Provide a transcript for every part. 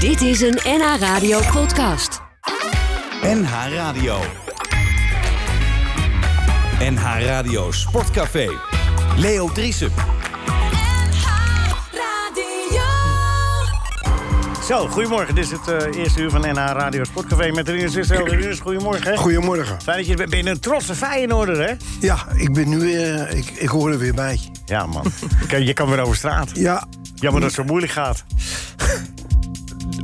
Dit is een NH Radio podcast. NH Radio. NH Radio Sportcafé. Leo Driessen. Zo, goedemorgen. Dit is het eh, eerste uur van NH Radio Sportcafé met Rinus Israël. Rinus, goedemorgen. Goedemorgen. Fijn dat je er bent. Ben je een trotse Feyenoorder, hè? Ja, ik ben nu weer, eh, ik, ik hoor er weer bij. Ja, man. Je kan- je kan weer over straat. Ja, Jammer dat het zo moeilijk gaat.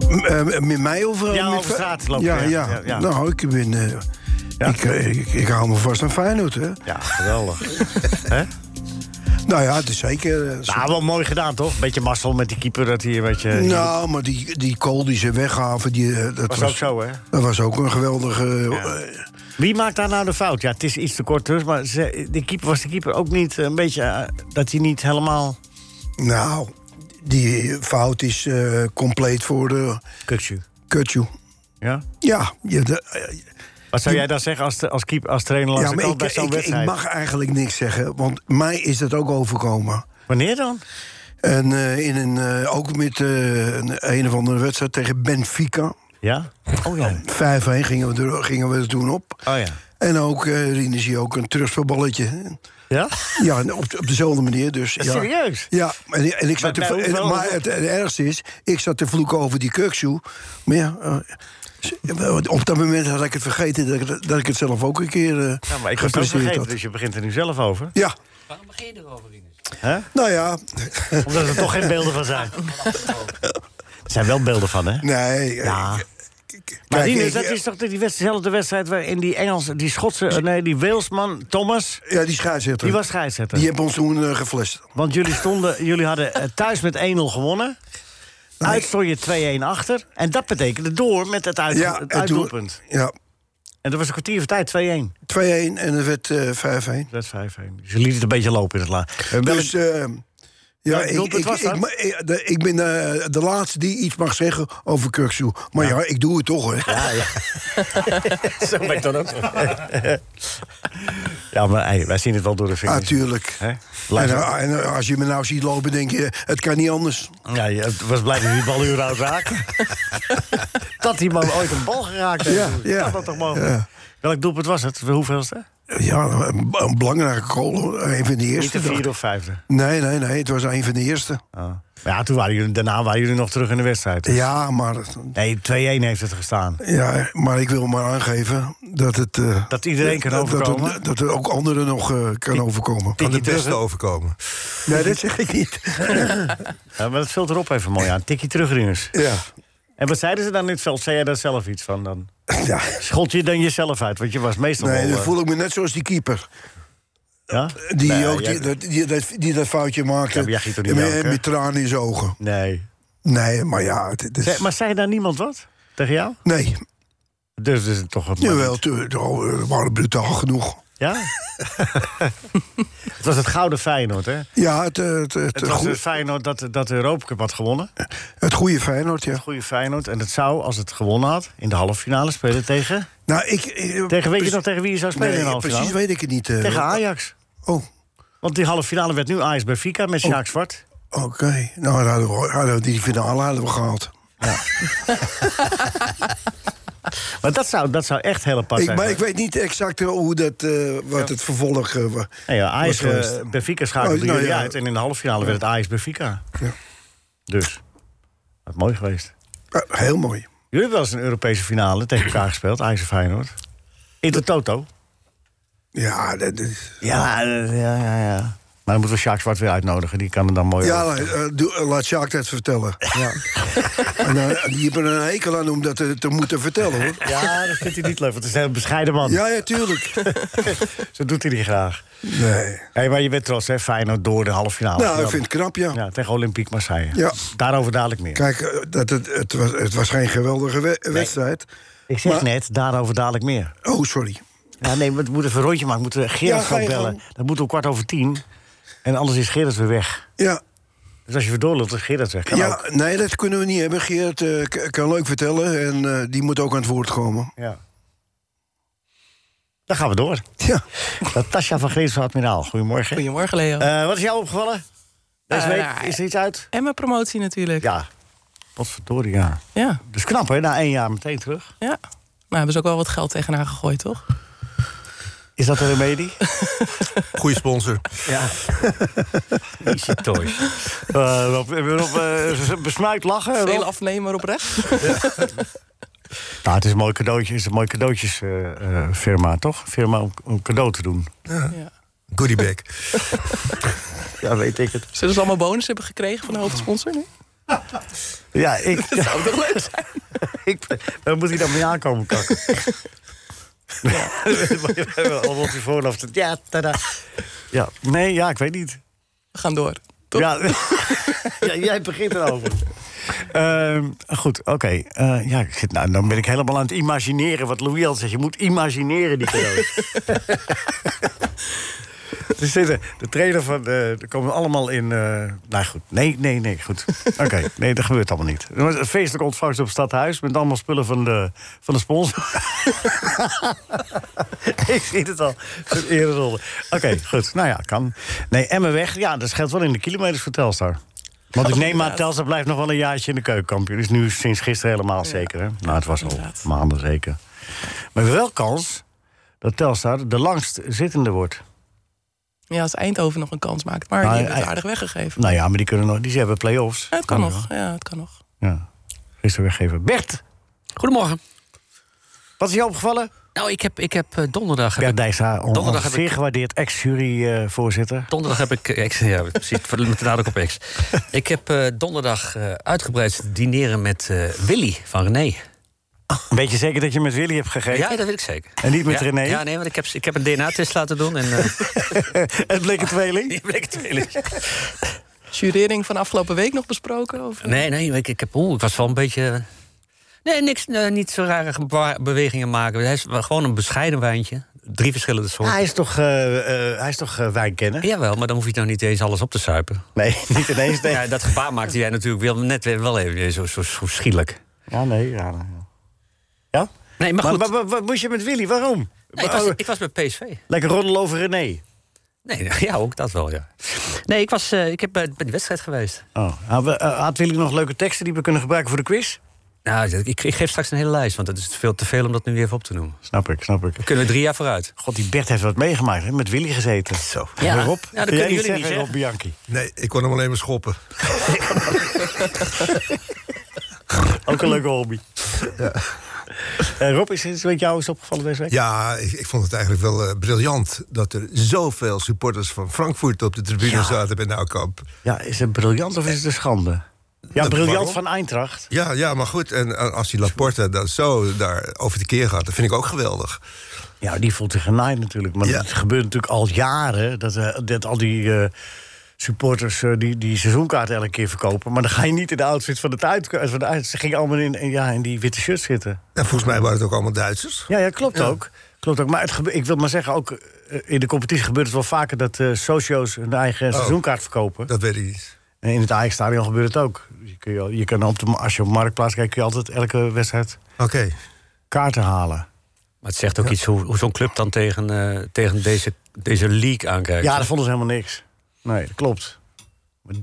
m- eh, met mij of... eh, Ja, met over straat lopen, Ja, ja, ja, ja, ja. Nou, ik ben... eh, ik, eh, ik, ik hou me vast aan Feyenoord, hè. Ja, geweldig. Nou ja, het is zeker... eh, zo- nou, wel mooi gedaan, toch? Beetje mazzel met die keeper dat hier, weet je... nou, maar die, die kool die ze weggaven, die, eh, dat, was was, ook zo, hè? dat was ook een geweldige... eh, eh, Wie maakt daar nou de fout? Ja, het is iets te kort terug, maar ze, de keeper was de keeper ook niet eh, een beetje... eh, dat hij niet helemaal... nou, die fout is eh, compleet voor de Kuksu. Kutju. Ja? Ja, je, de- eh, Wat zou jij dan zeggen als, de- als, keeper, als trainer langs ja, de maar kant ik, bij zo'n ik, ik wedstrijd? mag eigenlijk niks zeggen, want mij is dat ook overkomen. Wanneer dan? En eh, in een, eh, ook met eh, een, een of andere wedstrijd tegen Benfica. 5-1 Ja? Oh ja. gingen we, er, gingen we er toen op. Oh ja. En ook eh Rinus hier ook een terugspelballetje. Ja? Ja, en op, op dezelfde manier dus. Ja. Serieus? Ja, en, en ik zat te, Maar bij en- hoeveel- maar het, het ergste is, ik zat te vloeken over die Kuksu. Maar ja, eh, s- op dat moment had ik het vergeten dat ik, het- dat ik het zelf ook een keer eh Ja, maar ik was het ook gepresteerd vergeten, had. dus je begint er nu zelf over. Ja, Waarom begin je erover, Rinus? nou ja, Omdat er toch geen beelden van zijn. Er zijn wel beelden van, hè? nee. Ja. eh, k- k- Maar kijk, Rinus, ik- dat is toch die wedst- dezelfde wedstrijd waarin die Engelse, die Schotse, eh, nee, die Walesman, Thomas, Ja, die scheidsrechter. die was scheidsrechter. Die hebben ons toen eh, geflest. Want jullie, stonden, jullie hadden eh, thuis met 1-0 gewonnen. Uit stond je 2-1 achter. En dat betekende door met het, uit, Ja, het en toen- uitdoelpunt. Ja, 2-1 En dat was een kwartier van tijd, 2-1. en het werd eh 5-1. Dat is 5-1. Dus je liet het een beetje lopen in het laag. En wel- Dus eh, ja, Welk ik, doelpunt ik, was ik, dat? ma- ik- de- ik ben eh, de laatste die iets mag zeggen over Kuksu. Maar ja. ik doe het toch, hè. Zo ben ik dan ook. Ja, maar hey, wij zien het wel door de Ah, vingers. Natuurlijk. Hè? en, Luister. eh, en, eh, als je me nou ziet lopen, denk je, het kan niet anders. Ja, je- het was blij dat hij de bal überhaupt raakte. dat die man ooit een bal geraakt heeft. Ja, ja. Kan dat toch mogelijk? Ja. Welk doelpunt was het? Hoeveelste? Ja, een, een belangrijke goal, een van de Niet de eerste. vierde of vijfde? Nee, nee, nee, het was een van de eerste. Ja. Maar Ja, toen waren jullie, daarna waren jullie nog terug in de wedstrijd. dus. Ja, maar, het- Nee, 2-1 heeft het gestaan. ja, maar ik wil maar aangeven dat het... eh, Dat iedereen kan dat- dat het- overkomen. Dat, er ook anderen nog eh, kan overkomen. Tikkie Van de terug, beste overkomen. Nee, dat zeg ik niet. Ja, maar dat vult erop even mooi aan. Tikkie terugringers. Ja. En wat zeiden ze dan in het veld? Zei jij daar zelf iets van dan? ja. Schold je dan jezelf uit? Want je was meestal Nee, wel... dan eh, voel ik me net zoals die keeper. ja? Die, Nee, ook, jij- die, dat, die, dat, die dat foutje maakte. Ja, maar jij ging toch niet met, janken? met tranen in zijn ogen. Nee. Nee, maar ja. Het, het is, Zeg, maar zei daar niemand wat tegen jou? nee, Dus dat is het toch wat jawel, te, te- oh, we waren brutaal genoeg. Ja? het was het gouden Feyenoord, hè? Ja, het, eh, het, het, Het was goe- het Feyenoord dat, dat de Europa Cup had gewonnen. Het het goede Feyenoord, ja. goede Feyenoord. En dat zou, als het gewonnen had, in de halve finale spelen tegen... Nou, ik, eh, tegen weet je precies- nog tegen wie je zou spelen in de nee, halve precies finale? weet ik het niet. eh. Tegen Ajax. Oh, Want die halve finale werd nu Ajax bij Fika met Sjaak Zwart. oké. Nou, dan hadden we, hadden we die finale hadden we gehaald. Maar dat zou, dat zou echt heel apart Ik, zijn. maar ik weet niet exact eh, hoe dat, eh, wat het vervolg eh, wa- Nou ja, Ajax was geweest. eh, bij Fika schakelde Oh, nou jullie ja. uit. En in de halve finale werd het Ajax bij Fika. Ja. Dus, wat mooi geweest. Eh, heel mooi. Jullie hebben wel eens een Europese finale tegen elkaar gespeeld, Ajax en Feyenoord. In de Toto. Ja, dat is... Ja, eh, ja, ja, ja. Maar dan moeten we Sjaak Zwart weer uitnodigen. Die kan er dan mooi Ja, over. la- eh, doe- eh, laat Sjaak dat vertellen. Ja. en, eh, die hebben er een hekel aan om dat te, te moeten vertellen, Nou, hoor. Ja, dat vindt hij niet leuk, want het is een heel bescheiden man. Ja, ja, tuurlijk. Zo doet hij die graag. Nee. Hey, maar je bent trots, hè? Feyenoord door de halve finale. Nou, ik vind het knap, ja. Ja, tegen Olympique Marseille. Ja. Daarover dadelijk meer. Kijk, eh, dat het, het, was, het was geen geweldige we- wedstrijd. ik zeg maar- net, daarover dadelijk meer. Oh, sorry. Ja, nee, maar het moet even een rondje maken. We moeten Gerard Ja, ga gaan je bellen. gang. Dat moet om kwart over tien. En anders is Gerard weer weg. Ja, Dus als je weer doorloopt, is Gerard weg. Kan ook. ja nee, dat kunnen we niet hebben. Geert eh, k- kan leuk vertellen en eh, die moet ook aan het woord komen. Ja. Dan gaan we door. Ja. Natasja van Greens van Admiraal. Goedemorgen. Goedemorgen, Leo. Eh, wat is jou opgevallen? Deze Eh, week nou, is er iets uit? en mijn promotie natuurlijk. Ja. Potverdorie, ja. Ja, Dus knap, hè? Na één jaar meteen terug. ja. Maar hebben ze ook wel wat geld tegen haar gegooid, toch? Is dat een remedie? Goede sponsor. ja. Easy Toys. Eh, Rob, eh, Rob, eh, besmuikt lachen. Veel Rob. afnemer oprecht. Nou, het is een mooi cadeautje. Het is een mooi cadeautjesfirma, toch? Firma om, om cadeau te doen. Ja. Goodie bag. Ja, weet ik het. Zullen ze allemaal bonus hebben gekregen van de hoofdsponsor nu? Ja, ik. Dat zou toch leuk zijn? ik waar moet hij dan mee aankomen kakken? We hebben allemaal op je voorhoofd. Ja, tada. Ja, nee, ja, ik weet niet. We gaan door. Toch? Ja, ja, jij begint erover. Ehm, goed, oké. Eh, ja, ik zit, nou, dan ben ik helemaal aan het imagineren wat Louis al zegt. Je moet imagineren die cadeaus. Ze zitten, de trainer van, eh, er komen allemaal in. eh, nou goed, nee, nee, nee, goed. Oké, nee, dat gebeurt allemaal niet. Er was een feestelijke ontvangst op het stadhuis met allemaal spullen van de, van de sponsor. ik zie het al, een ereronde. Oké, goed, nou ja, kan. Nee, Emmen weg, ja, dat scheelt wel in de kilometers voor Telstar. Want ik neem aan, Inderdaad. Telstar blijft nog wel een jaartje in de keukenkampioen. Is nu sinds gisteren helemaal zeker, hè? Nou, het was al inderdaad. maanden zeker. Maar we hebben wel kans dat Telstar de langst zittende wordt. Ja, als Eindhoven nog een kans maakt. Maar Nou, die hebben het hij- aardig weggegeven. Nou ja, maar die, kunnen nog, die hebben play-offs. Ja, het kan nog. Ja, het kan nog. Ja, gisteren weggeven. Bert, Goedemorgen. wat is jou opgevallen? Nou, ik heb, ik heb eh, donderdag... heb Bert ik- Dijsha, on- Donderdag on- heb zeer ik- gewaardeerd eh, ex-jury-voorzitter. Donderdag heb ik... eh, Ex, ja, precies, voor- met de nadruk op ex. Ik heb eh, donderdag eh, uitgebreid dineren met eh, Willy van René. Weet je zeker dat je met Willy hebt gegeten? Ja, dat weet ik zeker. En niet met ja, René? Ja, nee, want ik heb, ik heb een DNA-test laten doen. En, eh, Het bleek een tweeling. die bleek tweeling. Jurering van afgelopen week nog besproken? Of... Nee, nee, ik, ik, heb, oeh, ik was wel een beetje... eh, Nee, niks, eh, niet zo rare geba- bewegingen maken. Hij is wel gewoon een bescheiden wijntje. Drie verschillende soorten. hij is toch, eh, eh, hij is toch eh, wijnkenner? Jawel, maar dan hoef je nou niet eens alles op te suipen. Nee, niet ineens. Nee. Ja, dat gebaar maakte jij natuurlijk wel, net weer- wel even weer zo, zo, zo schielijk. Ja, nee. Ja, nee, ja. ja? Nee, maar Maar, goed. maar, maar wat moest je met Willy? Waarom? Nee, ik, was, Oh, ik was bij PSV. Lekker roddelen over René. Nee, ja, ook dat wel, ja. Nee, ik, was, eh, ik heb, bij bij de wedstrijd geweest. Oh. Had, we- eh, had Willy nog leuke teksten die we kunnen gebruiken voor de quiz? Nou, ik, ik geef straks een hele lijst, want het is veel te veel om dat nu weer even op te noemen. Snap ik, snap ik. We kunnen drie jaar vooruit. God, die Bert heeft wat meegemaakt, hè? Met Willy gezeten. Zo. Ja. Rob, Ja, dat kun kunnen jij jullie niet Rob zeggen. Bianchi. Nee, ik kon hem alleen maar schoppen. Ook een leuke hobby. Eh, Rob, is het met jou eens opgevallen deze week? Ja, ik, ik vond het eigenlijk wel eh, briljant dat er zoveel supporters van Frankfurt op de tribune zaten bij Noukamp. Ja, is het briljant of is het een schande? Ja, Nou, briljant waarom? van Eintracht. Ja, ja, maar goed, en eh, als die Laporte dat zo daar over de keer gaat, dat vind ik ook geweldig. Ja, die voelt zich genaaid natuurlijk. Maar Ja. het gebeurt natuurlijk al jaren dat, eh, dat al die eh, supporters eh, die, die seizoenkaart elke keer verkopen. Maar dan ga je niet in de outfit van het uit. Van de uit ze gingen allemaal in, in- ja, in die witte shirts zitten. En volgens mij waren het ook allemaal Duitsers. Ja, ja klopt, Ook. klopt ook. Maar het gebe- ik wil maar zeggen, ook eh, in de competitie gebeurt het wel vaker dat eh, socio's hun eigen seizoenkaart verkopen. Oh. Dat weet ik niet. En in het Ajax-stadion gebeurt het ook. Je, kun je, je kan op de, als je op Marktplaats kijkt, kun je altijd elke wedstrijd Oké. kaarten halen. Maar het zegt ook iets hoe, hoe zo'n club dan tegen, eh, tegen deze, deze league aankijkt. Ja, dat vonden ze helemaal niks. Nee, dat klopt. Maar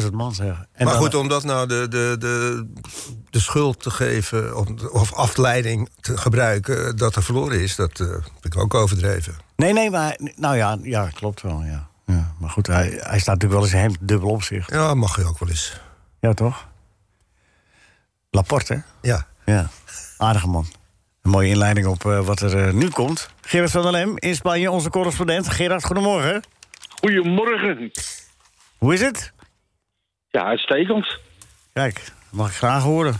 30.000 man zeggen. En maar dan- goed, om dat nou de, de, de, de schuld te geven om- of afleiding te gebruiken eh, dat er verloren is, dat eh, vind ik ook overdreven. Nee, nee, maar. Nou ja, ja klopt wel. Ja. Ja, maar goed, hij, hij staat natuurlijk wel eens hemd dubbel op zich. Ja, mag je ook wel eens. Ja, toch? Laporte, hè? Ja. Ja, aardige man. Een mooie inleiding op eh, wat er eh, nu komt. Gerard van der Lem in Spanje, onze correspondent. Gerard, goedemorgen. Goedemorgen. Hoe is het? Ja, uitstekend. Kijk, mag ik graag horen.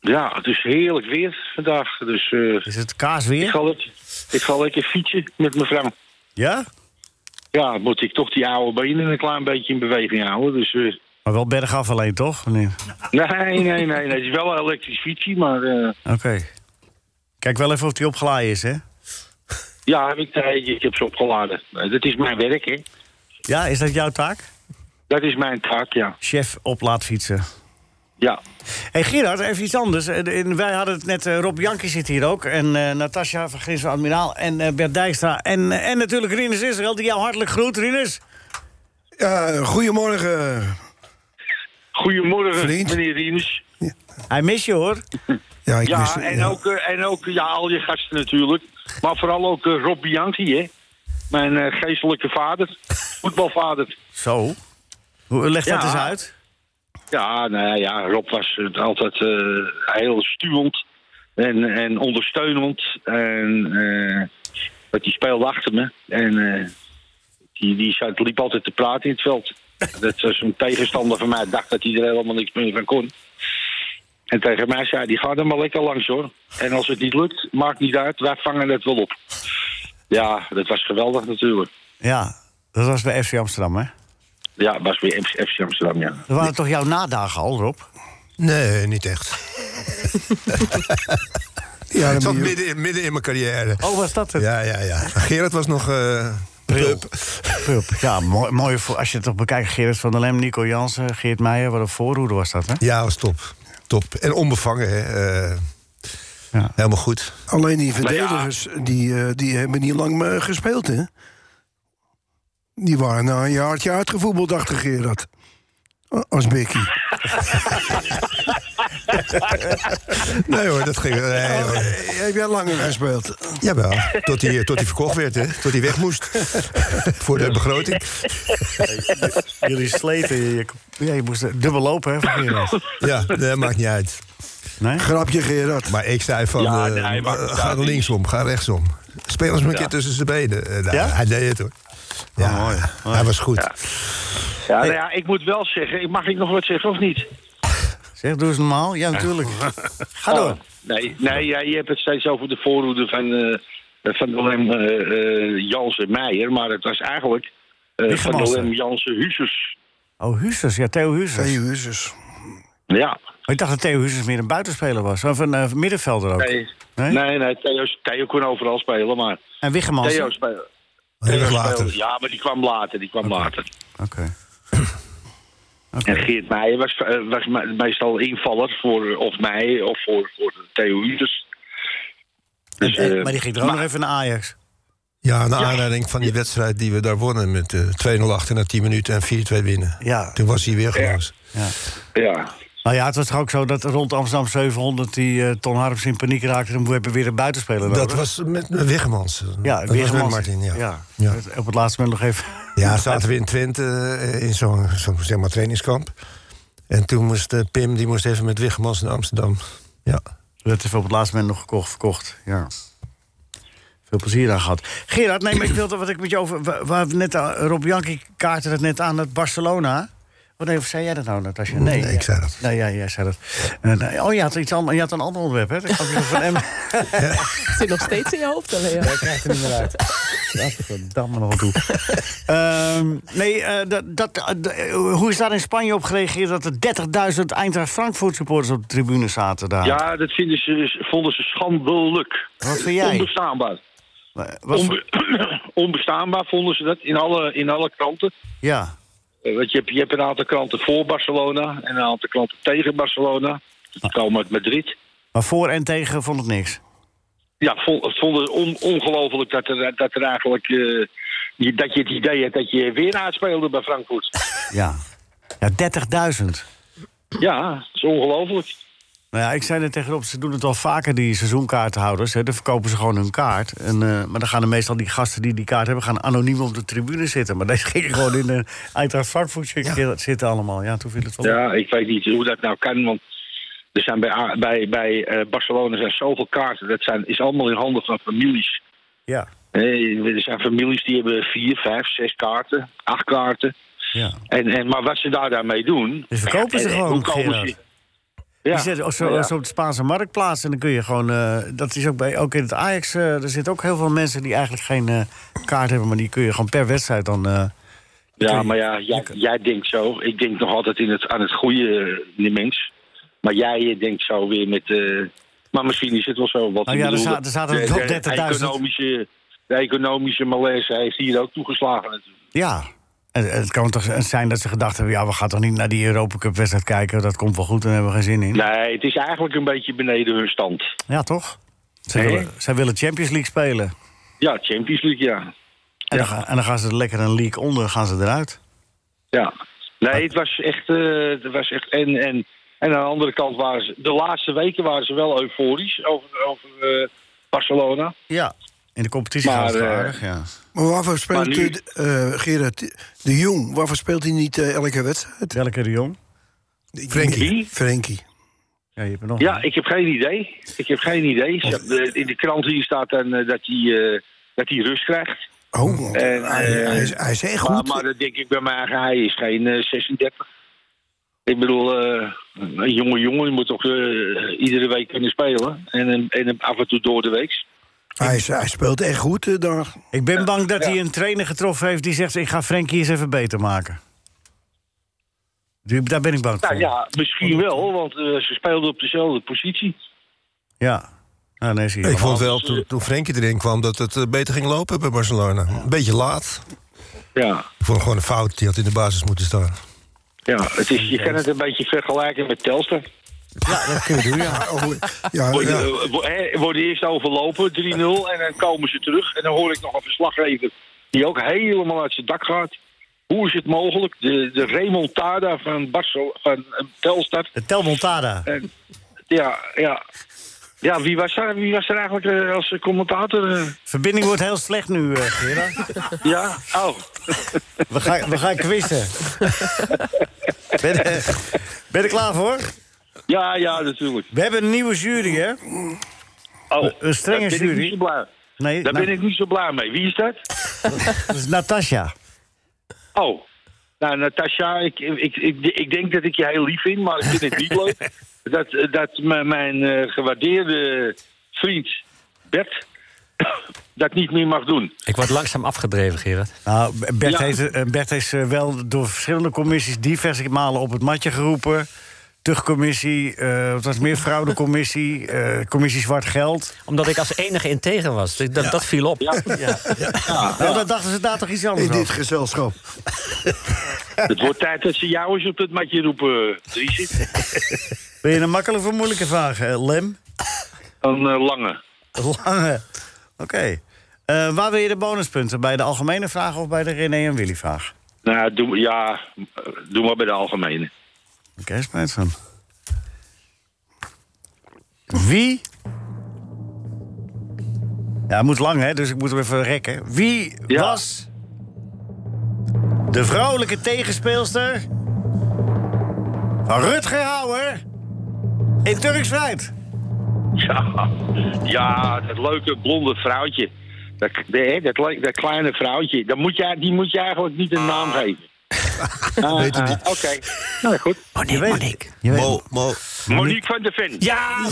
Ja, het is heerlijk weer vandaag. Dus eh, Is het kaas ik, weer? ga lekker, ik ga lekker fietsen met mevrouw. Ja? Ja, dan moet ik toch die oude benen een klein beetje in beweging houden. Dus, eh, Maar wel bergaf alleen, toch? Nee. nee, nee, nee, nee. Het is wel een elektrisch fietsje, maar eh, Oké. Kijk wel even of die opgeladen is, hè? ja, heb ik, nee, ik heb ze opgeladen. Nee, dat is mijn werk, hè. Ja, Ah, is dat jouw taak? Dat is mijn taak, ja. Chef oplaadfietsen. Ja, Hé hey Gerard, even iets anders. Eh, de- in- wij hadden het net, eh, Rob Janke zit hier ook. En eh, Natasja van Grins van Admiraal. En eh, Bert Dijkstra. En, eh, en natuurlijk Rinus Israël, die jou hartelijk groet, Rinus. ja goedemorgen. goedemorgen, Vriend. meneer Rienus. Hij mist je hoor. Ja, ik mis, Ja, en, ja. Ook, eh, en ook ja, al je gasten natuurlijk. Maar vooral ook eh, Rob Bianchi, hè. Mijn eh, geestelijke vader. Voetbalvader. Zo. Hoe legt dat Ja. eens uit? Ja, nou ja, Rob was eh, altijd eh, heel stuwend en, en ondersteunend. En eh, dat die speelde achter me. En eh, die, die zat, liep altijd te praten in het veld. Dat was een tegenstander van mij. dacht dat hij er helemaal niks meer van kon. En tegen mij zei die ga er maar lekker langs hoor. En als het niet lukt, maakt niet uit, wij vangen het wel op. Ja, dat was geweldig natuurlijk. Ja, dat was bij FC Amsterdam, hè? Ja, was weer FC Amsterdam, ja. Dat waren toch jouw nadagen al, Rob? Nee, niet echt. Ja, dan Ik zat moet je- midden in, midden in mijn carrière. Oh, was dat het? Ja, ja, ja. Gerard was nog... eh, pup. Hup. Ja, mooi, mooi voor, als je het toch bekijkt. Gerrit van der Lem, Nico Jansen, Geert Meijer. Wat een voorhoede was dat, hè? Ja, was top. Top. En onbevangen, hè. eh, Ja. Helemaal goed. Alleen die ja. verdedigers, die, eh, die hebben niet lang eh, gespeeld, hè? Die waren na een jaartje uitgevoetbald, dacht de Gerard. A- Als Becky. Nee hoor, dat ging... Oh, Nee, hoor. Heb jij langer gespeeld? Jawel, tot hij, eh, tot hij verkocht werd, hè. Tot hij weg moest. Voor de begroting. Jullie sleten. Je, je, ja, je moest dubbel lopen, hè, voor Gerrit? Ja, dat maakt niet uit. Nee? Grapje, Gerard. Maar ik zei van, Ja, eh, nee, hij maakt het ga uit. linksom, ga rechtsom. Speel eens maar een Ja. keer tussen zijn benen. Eh, nou, Ja? Oh, Hij deed het hoor. Ja, mooi. Hij was goed. Ja, nou ja, ik moet wel zeggen, mag ik nog wat zeggen of niet? Zeg, doe eens normaal. Ja, natuurlijk. Ga door. Oh, nee, nee ja, je hebt het steeds over de voorhoede van, eh, van de Lem eh, eh, Jansen Meijer. Maar het was eigenlijk eh, van de Wiggemans, Lem hè? Jansen Huzes. Oh, Huusters. Ja, Theo Huusters. Twee uur, dus. Ja. Maar Ik dacht dat Theo Huusters meer een buitenspeler was. Of een eh, middenvelder ook. Nee, Nee? nee? nee, Theo, Theo kon overal spelen, maar En Wiggemans. Theo Oké. speelde. Heel erg Theo later. speelde- Ja, maar die kwam later, die kwam later. Oké. En Geert Meijer was, eh, was me- meestal invaller voor eh, of mij of voor, voor Theo Huzes. Dus, En- eh, maar die ging er ook nog even naar Ajax. Ja, naar aanleiding van die wedstrijd die we daar wonnen... met eh 2-0 achter na 10 minuten en 4-2 winnen. Ja. Toen was hij weer geloos. ja. Nou ja, het was toch ook zo dat rond Amsterdam 700 die eh, Ton Harms in paniek raakte. Dan hebben we weer een buitenspeler Dat nodig. was met Wiggemans. ja, dat Was Wiggemans. met Martin, ja. Ja, ja. Op het laatste moment nog even. zaten we in Twente eh, in zo'n zo'n, zeg maar, trainingskamp. En toen moest eh, Pim die moest even met Wiggemans naar Amsterdam. Ja. Dat heeft op het laatste moment nog gekocht, verkocht. Ja. Veel plezier aan gehad. Gerard, nee, maar ik wilde wat ik met je over. Waar, waar we net, aan- Rob Janki kaartte het net aan dat Barcelona. Wat nee, of zei jij dat nou, Natasja? Nee, Nee, ik zei dat. Nee, ja, jij zei dat. Eh, nee, oh, je had, iets anders, je had een ander onderwerp, hè? Dat gaf je van hem. Het zit nog steeds in je hoofd, hè, Leo. krijgt er niet meer uit. Gadverdamme nog wel toe. Ehm, nee, eh, dat, dat, eh, d- eh, hoe is daar in Spanje op gereageerd... dat er 30.000 Eintracht Frankfurt supporters op de tribune zaten daar? Eh, ja, dat vinden ze, vonden ze schandelijk. Wat vind jij? Onbestaanbaar. Wa- wat voor- Onbe- onbestaanbaar vonden ze dat in alle, in alle kranten. ja. Eh, Want je hebt, je hebt een aantal kranten voor Barcelona en een aantal kranten tegen Barcelona. Die komen uit Madrid. Maar voor en tegen vond het niks. Ja, vo- vonden het on, ongelooflijk dat er, dat er eigenlijk. eh, je, dat je het idee had dat je weer uitspeelde bij Frankfurt. Ja. Ja, 30.000. Ja, dat is ongelooflijk. Nou ja, ik zei net tegenop, ze doen het al vaker, die seizoenkaarthouders. Hè. Dan verkopen ze gewoon hun kaart. En, eh, maar dan gaan er meestal die gasten die die kaart hebben... gaan anoniem op de tribune zitten. Maar deze gingen gewoon in een Eintracht Frankfurt zitten allemaal. Ja, toen viel het wel op. Ja, ik weet niet hoe dat nou kan, want. Er zijn bij, A- bij, bij eh, Barcelona zijn zoveel kaarten. Dat zijn, is allemaal in handen van families. Ja. Eh, er zijn families die hebben vier, vijf, zes kaarten, acht kaarten. ja. En, en, maar wat ze daar daarmee doen... Dus verkopen ze Ja, en- gewoon, en hoe komen Gerard. ze- Ja, Die zetten ook zo, ja. zo op de Spaanse marktplaats. En dan kun je gewoon. eh, dat is ook, bij, ook in het Ajax. eh, er zitten ook heel veel mensen die eigenlijk geen eh, kaart hebben. Maar die kun je gewoon per wedstrijd dan. eh, Ja, maar ja, jij, jij denkt zo. Ik denk nog altijd in het, aan het goede eh, die mens. Maar jij eh, denkt zo weer met... eh, maar misschien is het wel zo. Wat Nou ja, er za- er zaten wel 30.000. economische, de economische malaise heeft hier ook toegeslagen. natuurlijk. ja. En, en het kan toch zijn dat ze gedacht hebben. Ja, we gaan toch niet naar die Europa Cup wedstrijd kijken. Dat komt wel goed. Daar hebben we geen zin in. Nee, het is eigenlijk een beetje beneden hun stand. Ja, toch? Ze Nee. willen, zij willen Champions League spelen. Ja, Champions League, ja. En, dan, ga- en dan gaan ze er lekker een league onder. Gaan ze eruit. Ja. Nee, het was echt. eh, het was echt en, en En aan de andere kant waren ze, de laatste weken waren ze wel euforisch over, over eh, Barcelona. Ja. In de competitie Maar, gaat het wel eh, aardig, ja. Maar waarvoor speelt nu- eh, eh, Gerard de Jong? Waarvoor speelt hij niet eh, elke wedstrijd? Welke de Jong? Wie? Frenkie. Ja, je hebt Oh. er nog Ja, een. ik heb geen idee. Ik heb geen idee. De- In de krant hier staat dan, eh, dat hij eh, dat hij rust krijgt. Oh, want En, hij, eh, hij is, hij is echt Maar, goed. maar dat denk ik bij mij, hij is geen eh, 36. Ik bedoel, eh, een jonge jongen moet toch eh, iedere week kunnen spelen. En, eh, en eh, af en toe door de week. hij, is- hij speelt echt goed eh, daar. Ik ben bang dat hij een trainer getroffen heeft die zegt... ik ga Frenkie eens even beter maken. Die- Daar ben ik bang voor. Nou ja, misschien wel, want eh, ze speelden op dezelfde positie. Ja. Nou, nee, zie je Ik wel. vond wel, toen, toen Frenkie erin kwam, dat het eh, beter ging lopen bij Barcelona. Een beetje laat. Ja, Ik vond gewoon een fout, die had in de basis moeten staan. ja het is, je kan het een beetje vergelijken met Telstra. Ja, oh, ja, Word- ja. eh, wo- hè, Worden eerst overlopen, 3-0, en dan komen ze terug. En dan hoor ik nog een verslaggever die ook helemaal uit zijn dak gaat. Hoe is het mogelijk? De, de remontada van, Barcel van eh, Telstar. De Telmontada. Ja, ja. Ja, wie was er, wie was er eigenlijk eh, als commentator? eh? Verbinding wordt heel slecht nu, eh, Gerard. Ja, oh. We gaan, we gaan quizzen. ben, je- ben je er klaar voor? Ja, ja, natuurlijk. We hebben een nieuwe jury, hè? Oh, een strenge daar ben jury. Ik niet zo blij. Nee, Daar nou, ben ik niet zo blij mee. Wie is dat? dat is Natasja. Oh. Nou, Natasja, ik, ik, ik, ik denk dat ik je heel lief vind, maar ik vind het niet leuk. Dat, dat m- mijn eh, gewaardeerde vriend Bert dat niet meer mag doen. Ik word langzaam afgedreven, Gerard. Nou, Bert, Ja. heeft, eh, Bert is eh, wel door verschillende commissies diverse malen op het matje geroepen. Tugcommissie, eh wat was het meer fraudecommissie, eh, commissie zwart geld. Omdat ik als enige integer was. Dus Dat, dat viel op. Ja. Nou, dan dachten ze daar toch iets anders In dit over. gezelschap. Het wordt tijd dat ze jou eens op het matje roepen, Dries. Ben je een makkelijke of moeilijke vraag, eh, Lem? Een eh, lange. Lange. Oké. Eh, waar wil je de bonuspunten? Bij de algemene vraag of bij de René en Willy vraag? Nou, doe, ja, eh, doe maar bij de algemene. Oké, spijt van. Wie... Ja, het moet lang, hè, dus ik moet hem even rekken. Wie Ja. was de vrouwelijke tegenspeelster van Rutger Hauer in Turks Fruit? Ja, ja dat leuke blonde vrouwtje. Dat, hè, dat, le- dat kleine vrouwtje. Dat moet je, die moet je eigenlijk niet een naam geven. Ah, ah, Oké, nou goed. Je weet ik. Je weet Mo, Mo, Monique van der Ven. Ja,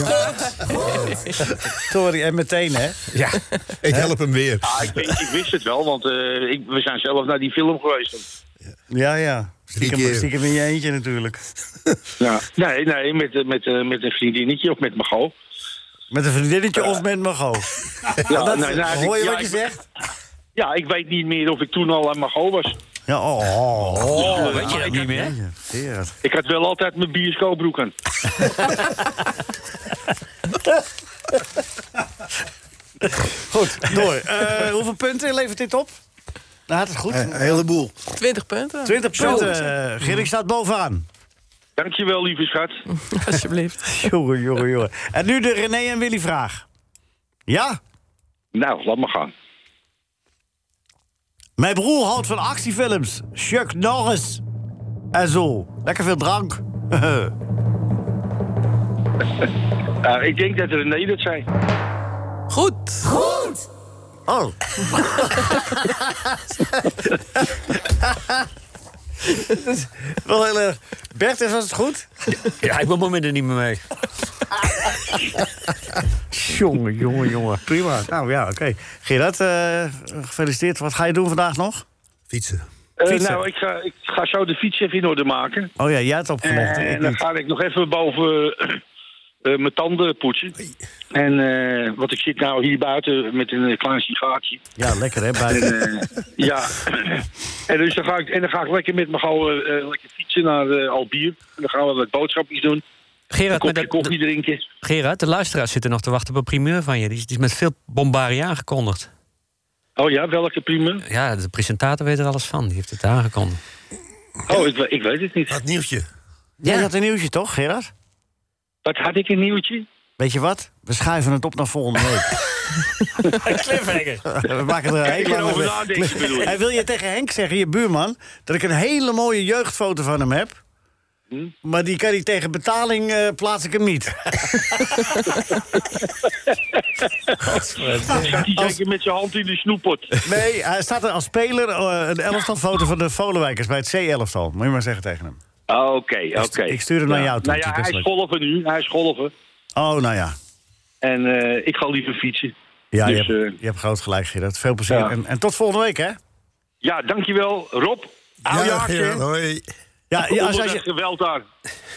Sorry, en meteen, hè? ik help hem weer. Ah, ik, ik wist het wel, want eh, ik, we zijn zelf naar die film geweest. Ja, ja. Stiekem, keer. stiekem in je eentje natuurlijk. Ja. Nee, nee, met, eh, met, eh, met een vriendinnetje of met Mago. Met een Eh. vriendinnetje of met Mago. Ja, Dat, nee, nee, hoor je ik- wat ja, je ik- zegt? Ja, ik weet niet meer of ik toen al aan Mago was. Ja, oh. oh, weet je dat niet meer? Ja, Gerard. Ik had wel altijd mijn bioscoopbroek aan. Goed, door. Eh, hoeveel punten levert dit op? Nou, had het goed. Eh, Een heleboel. 20 punten. 20 Zo, punten. Eh, Gerrit staat bovenaan. Dankjewel, lieve schat. Alsjeblieft. Jongen, jongen, jongen. En nu de René en Willy vraag. Ja? Nou, laat maar gaan. Mijn broer houdt van actiefilms. Chuck Norris. En zo. Lekker veel drank. Eh, ik denk dat René dat zei. Goed. Oh. Wel heel erg. Bert, was het goed? Ja, ik bemoei me er niet meer mee. Jongen, jongen, jongen. Prima. Nou ja, oké. Gerard, eh, gefeliciteerd. Wat ga je doen vandaag nog? Fietsen. Eh, Fietsen. nou, ik ga, ik ga zo de fiets even in orde maken. Eh, Oh ja, jij hebt opgelegd. En Ik dan niet. nou, ga ik nog even boven eh, mijn tanden poetsen. En eh, want ik zit nou hier buiten met een eh, klein sigaartje. Ja, lekker hè, buiten. Eh, ja. en, dus dan ga ik, en dan ga ik lekker met mijn gauw eh, lekker fietsen naar eh, Albier. En dan gaan we wat boodschapjes doen. Een Gerard, maar kopje dat- koffie drinken. Gerard, de luisteraars zitten nog te wachten op een primeur van je. Die is, die is met veel bombarie aangekondigd. Oh ja, welke prima? Ja, de presentator weet er alles van. Die heeft het aangekondigd. Oh, ik, we- ik weet het niet. Dat nieuwtje. Jij had een nieuwtje toch, Gerard? Wat had ik een nieuwtje? Weet je wat? We schuiven het op naar volgende week. Cliffhanger. We maken er een hele lange Erover week. nadenken bedoel je? En wil je tegen Henk zeggen, je buurman, dat ik een hele mooie jeugdfoto van hem heb? Hm? Maar die kan hij tegen betaling eh, plaats ik hem niet. Zat hij zeker met zijn hand in de snoeppot? Nee, hij staat er als speler eh, een elftalfoto van de Volenwijkers bij het C-elftal. Moet je maar zeggen tegen hem. Oké, oké. ik stuur hem naar jou toe, Nou ja, het is hij is leuk. golven nu. Hij is golven. Oh, nou ja. En eh, ik ga liever fietsen. Ja, Dus, je, hebt, eh, je hebt groot gelijk, Gerard. Veel plezier. Ja. En, en tot volgende week, hè? Ja, dankjewel. Rob, hou je Ja, hartje. Gerard, hoi. Ja, ja, als, Onder als dat je, geweld daar.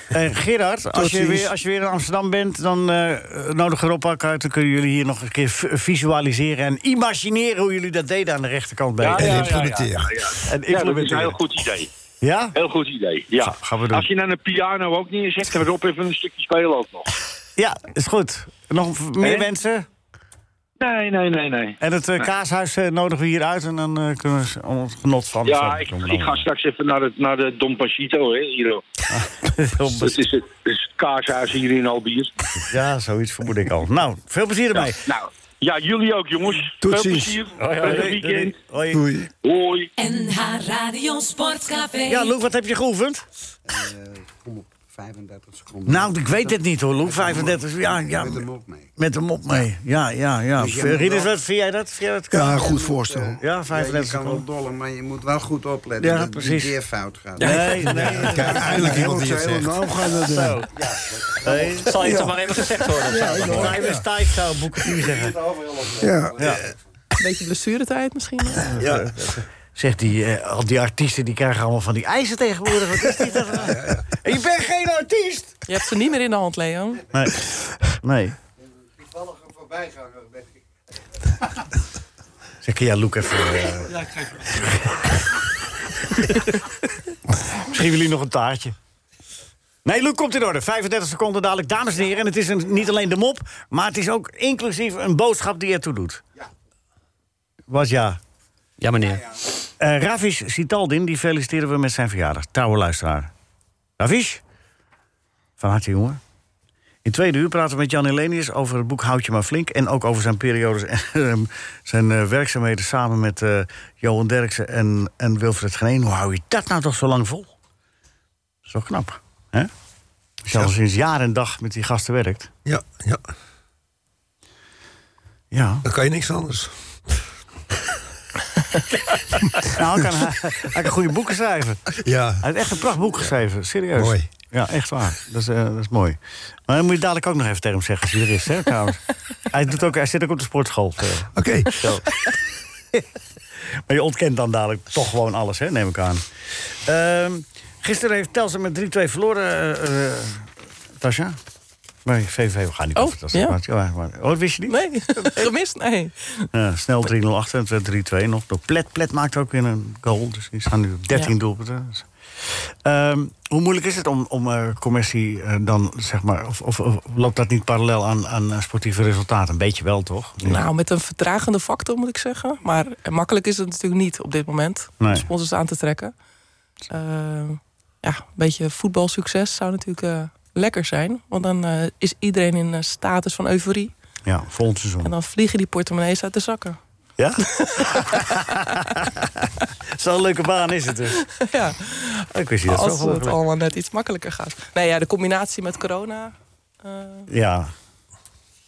eh, Gerard, als je, ziens. weer, als je weer in Amsterdam bent, dan eh, nodig erop uit. Dan kunnen jullie hier nog een keer v- visualiseren en imagineren hoe jullie dat deden aan de rechterkant bij. Ja, En ja, implementeren. En Ja, dat is een implementeren. heel goed idee. Ja? Heel goed idee, ja. gaan we doen. Als je dan een piano ook neerzet, dan Rob even een stukje spelen ook nog. ja, is goed. Nog v- meer Hè? wensen. Nee, nee, nee, nee. En het eh, kaashuis eh, nodigen we hier uit en dan eh, kunnen we s- ons genot van. Ja, ik, ik ga straks even naar, het, naar de Don Pachito, hè, hier. Dat is het, dat is het kaashuis hier in Albier. Ja, zoiets vermoed ik al. Nou, veel plezier ermee. Nou, ja, jullie ook, jongens. Tot Veel ziens. plezier. Fijne weekend. Hoi. Doei. Hoi. NH Radio Sportcafé. Ja, Loek, wat heb je geoefend? 35 seconden. Nou, ik weet het niet hoor, Loek. 35, ja, ja. Met hem op mee. Met de mop mee. Ja, ja, ja. Dus je Eh, moet Rinus, wel- wat vind jij dat? Vind jij dat? Ja, goed voorstel. Ja, Ja, je 35 kan wel seconden. dollen, maar je moet wel goed opletten Ja, dat het precies. niet weer fout gaat. Nee, nee. Kijk, eindelijk iemand die het Heel- heel zegt. nauw gaan we doen. Zo. Nee. Zal je toch maar even gezegd worden? op zaterdag? Time is tight, zou Boekertje zeggen. Ja. Beetje blessuretijd misschien. Zegt die, eh, al die artiesten, die krijgen allemaal van die eisen tegenwoordig. Wat is dit? dan? En Je bent geen artiest! Je hebt ze niet meer in de hand, Leon. Nee. Nee. Toevallig een voorbijganger ben ik. Zeg, ja, Loek even... eh, Misschien willen jullie nog een taartje. Nee, Luc komt in orde. 35 seconden dadelijk, dames en heren. En het is een, niet alleen de mop, maar het is ook inclusief een boodschap die ertoe doet. Was ja. Ja, meneer. Eh Ravish Sitaldin, die feliciteren we met zijn verjaardag. Trouwe luisteraar. Ravish, van harte jongen. In tweede uur praten we met Jan Helenius over het boek Houd je maar flink... en ook over zijn periodes en ehm, zijn eh, werkzaamheden samen met eh, Johan Derksen en, en Wilfred Geneen. Hoe hou je dat nou toch zo lang vol? Dat is wel knap, hè? Als je al sinds jaar en dag met die gasten werkt. Ja, ja, Ja. dan kan je niks anders. Nou, hij kan, hij, kan goede boeken schrijven. Ja, Hij heeft echt een prachtboek geschreven, serieus. Mooi. Ja, echt waar. Dat is, eh, dat is mooi. Maar dan moet je dadelijk ook nog even tegen hem zeggen als hij er is, hè, trouwens. hij, doet ook, hij zit ook op de sportschool. eh, oké. zo. maar je ontkent dan dadelijk toch gewoon alles, hè, neem ik aan. Ehm, gisteren heeft Telstra met 3-2 verloren, eh, eh, Tasja. Nee, VVV, we gaan niet Oh, over Tasja. ja. Maar, ja, maar- oh, dat wist je niet? Nee, gemist? Nee. Ja, snel 3-0 achter en toen werd 3-2 nog. Door Plet. Plet maakt ook weer een goal. Dus die staan nu op 13 Ja. doelpunten. Dus, ehm, hoe moeilijk is het om, om eh, commercie eh, dan, zeg maar... Of, of, of loopt dat niet parallel aan, aan eh, sportieve resultaten? Een beetje wel, toch? Nou, met een vertragende factor moet ik zeggen. Maar makkelijk is het natuurlijk niet op dit moment. om Nee. Sponsors aan te trekken. Eh, ja, een beetje voetbalsucces zou natuurlijk eh, lekker zijn. Want dan eh, is iedereen in een status van euforie. Ja, volgend En seizoen. dan vliegen die portemonnees uit de zakken. Ja? Zo'n leuke baan is het dus. ja, Ik wist niet dat als zo het gelukkig. allemaal net iets makkelijker gaat. Nee, ja, de combinatie met corona. eh, Ja.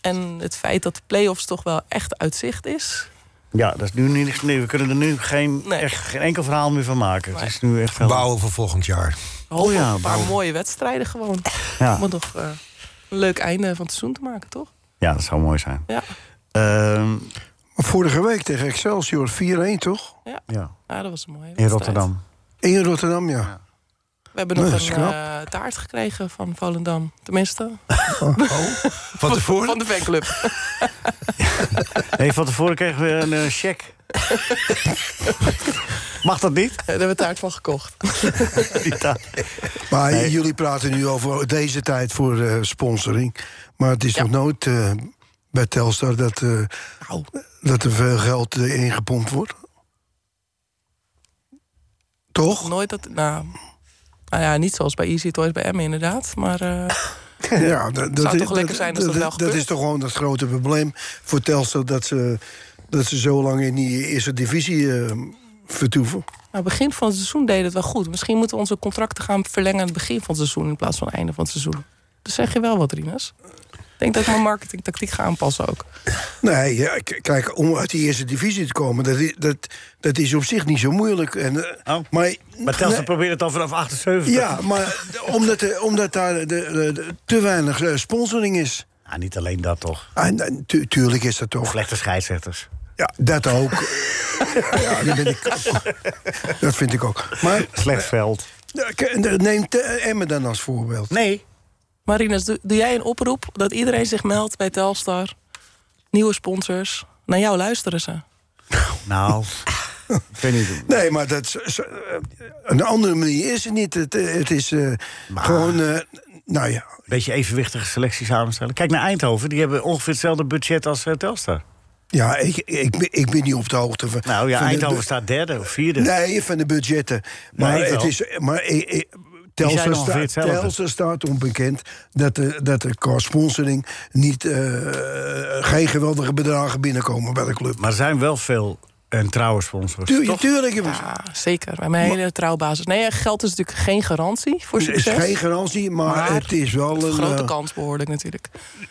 en het feit dat de play-offs toch wel echt uitzicht is. ja, dat is nu niks nieuws. We kunnen er nu geen, Nee. echt, geen enkel verhaal meer van maken. Het is nu echt... heel- Bouwen voor volgend jaar. Oh ja, een paar bouwen. mooie wedstrijden gewoon. Ja. Om nog eh, een leuk einde van het seizoen te maken, toch? ja, dat zou mooi zijn. Ja, Ehm, Vorige week tegen Excelsior 4-1, toch? ja. ja, ja dat was een mooie in wedstrijd. Rotterdam. In Rotterdam, ja. We hebben nog Nee, dat is een knap. eh, taart gekregen van Volendam. Tenminste, Oh. Van tevoren? van de fanclub. Nee, van tevoren kregen we een eh, cheque. Mag dat niet? Daar hebben we taart van gekocht. Die taal. Maar jullie praten nu over deze tijd voor eh, sponsoring. Maar het is nog nooit eh, bij Telstar dat, eh, Nou. dat er veel geld eh, ingepompt wordt. Toch? Nooit dat... Nou, nou ja, niet zoals bij Easy Toys bij Emmen inderdaad. Maar eh, Ja, dat, dat Zou is- toch lekker zijn als dat wel dat gebeurt? is toch gewoon het grote probleem voor Telstra dat ze, dat ze zo lang in die eerste divisie eh, vertoeven. Nou, begin van het seizoen deden het wel goed. Misschien moeten we onze contracten gaan verlengen aan het begin van het seizoen in plaats van het einde van het seizoen. Dus zeg je wel wat, Rinus. Ik denk dat ik mijn marketingtactiek ga aanpassen ook. Nee, ja, k- kijk, om uit die eerste divisie te komen, dat is, dat, dat is op zich niet zo moeilijk. En, eh, Oh. maar, Maar Telstra Nee, probeert het al vanaf 78. Ja, maar omdat, er- omdat daar de, de- de- te weinig eh, sponsoring is. Ah, niet alleen dat toch. En, en tu- tuurlijk is dat toch. Slechte scheidsrechters. Ja, dat ook. ja, dat, ben ik, dat vind ik ook. Maar eh, Slecht veld. Ja, k- Neem Te- Emmen dan als voorbeeld. Nee. Maar Rinus, doe, doe jij een oproep dat iedereen zich meldt bij Telstar? Nieuwe sponsors. Naar jou luisteren ze. Nou, ik weet niet. Nee, maar dat, is- is- eh, een andere manier is het niet. Het, eh, het is eh, gewoon, eh, nou ja. beetje evenwichtige selectie samenstellen. Kijk naar Eindhoven, die hebben ongeveer hetzelfde budget als eh, Telstar. Ja, ik, ik, ben- ik ben niet op de hoogte van. Nou ja, van de Eindhoven bu- staat derde of vierde. Nee, van de budgetten. Maar Nee, wel. het is. Maar, ik- ik- zijn Telstra ongeveer staat, hetzelfde. Telstra staat onbekend dat de, dat er qua sponsoring niet, eh, geen geweldige bedragen binnenkomen bij de club. Maar er zijn wel veel en trouwe sponsors. Tuur- tuurlijk, jongens. Ja, zeker. Bij mijn hele trouwbasis. Nee, ja, geld is natuurlijk geen garantie voor Er is succes. geen garantie, maar, Maar het is wel Een een. grote eh, kans behoorlijk natuurlijk.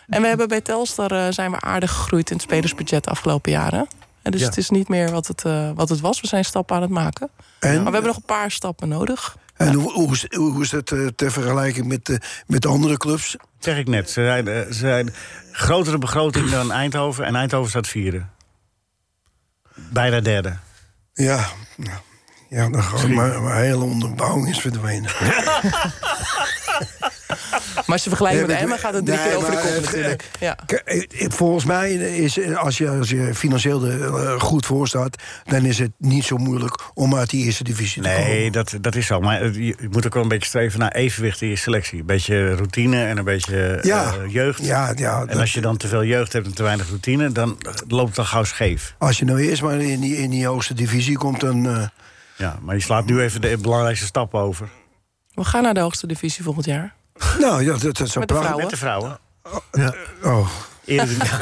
En we hebben bij Telstar eh, zijn we aardig gegroeid in het spelersbudget de afgelopen jaren. En dus Ja. het is niet meer wat het, eh, wat het was. We zijn stappen aan het maken. En? Maar we hebben nog een paar stappen nodig. En hoe, hoe, is, hoe is dat eh, te vergelijken met, eh, met andere clubs? Dat zeg ik net. Ze zijn, eh, ze zijn grotere begroting dan Eindhoven en Eindhoven staat vierde. Bijna derde. Ja, nou, ja dan gewoon maar, maar hele onderbouwing is verdwenen. Maar als je vergelijkt Nee, met maar- Emma gaat het drie nee, keer over de maar kop het- natuurlijk. Ja. K- eh, eh, Volgens mij is eh, als je, als je financieel er eh, goed voor staat, dan is het niet zo moeilijk om uit die eerste divisie te komen. Nee, dat, dat is zo. Maar eh, je je moet ook wel een beetje streven naar evenwicht in je selectie. Een beetje routine en een beetje Ja. eh, jeugd. Ja, ja, en als je dan te veel jeugd hebt en te weinig routine, dan eh, loopt het al gauw scheef. Als je nou eerst maar in die, in die hoogste divisie komt, dan. eh, Ja, maar je slaat nu even de belangrijkste stap over. We gaan naar de hoogste divisie volgend jaar. nou ja, dat, dat zou Met de prachtig Met de vrouwen. Oh. Eredivisie.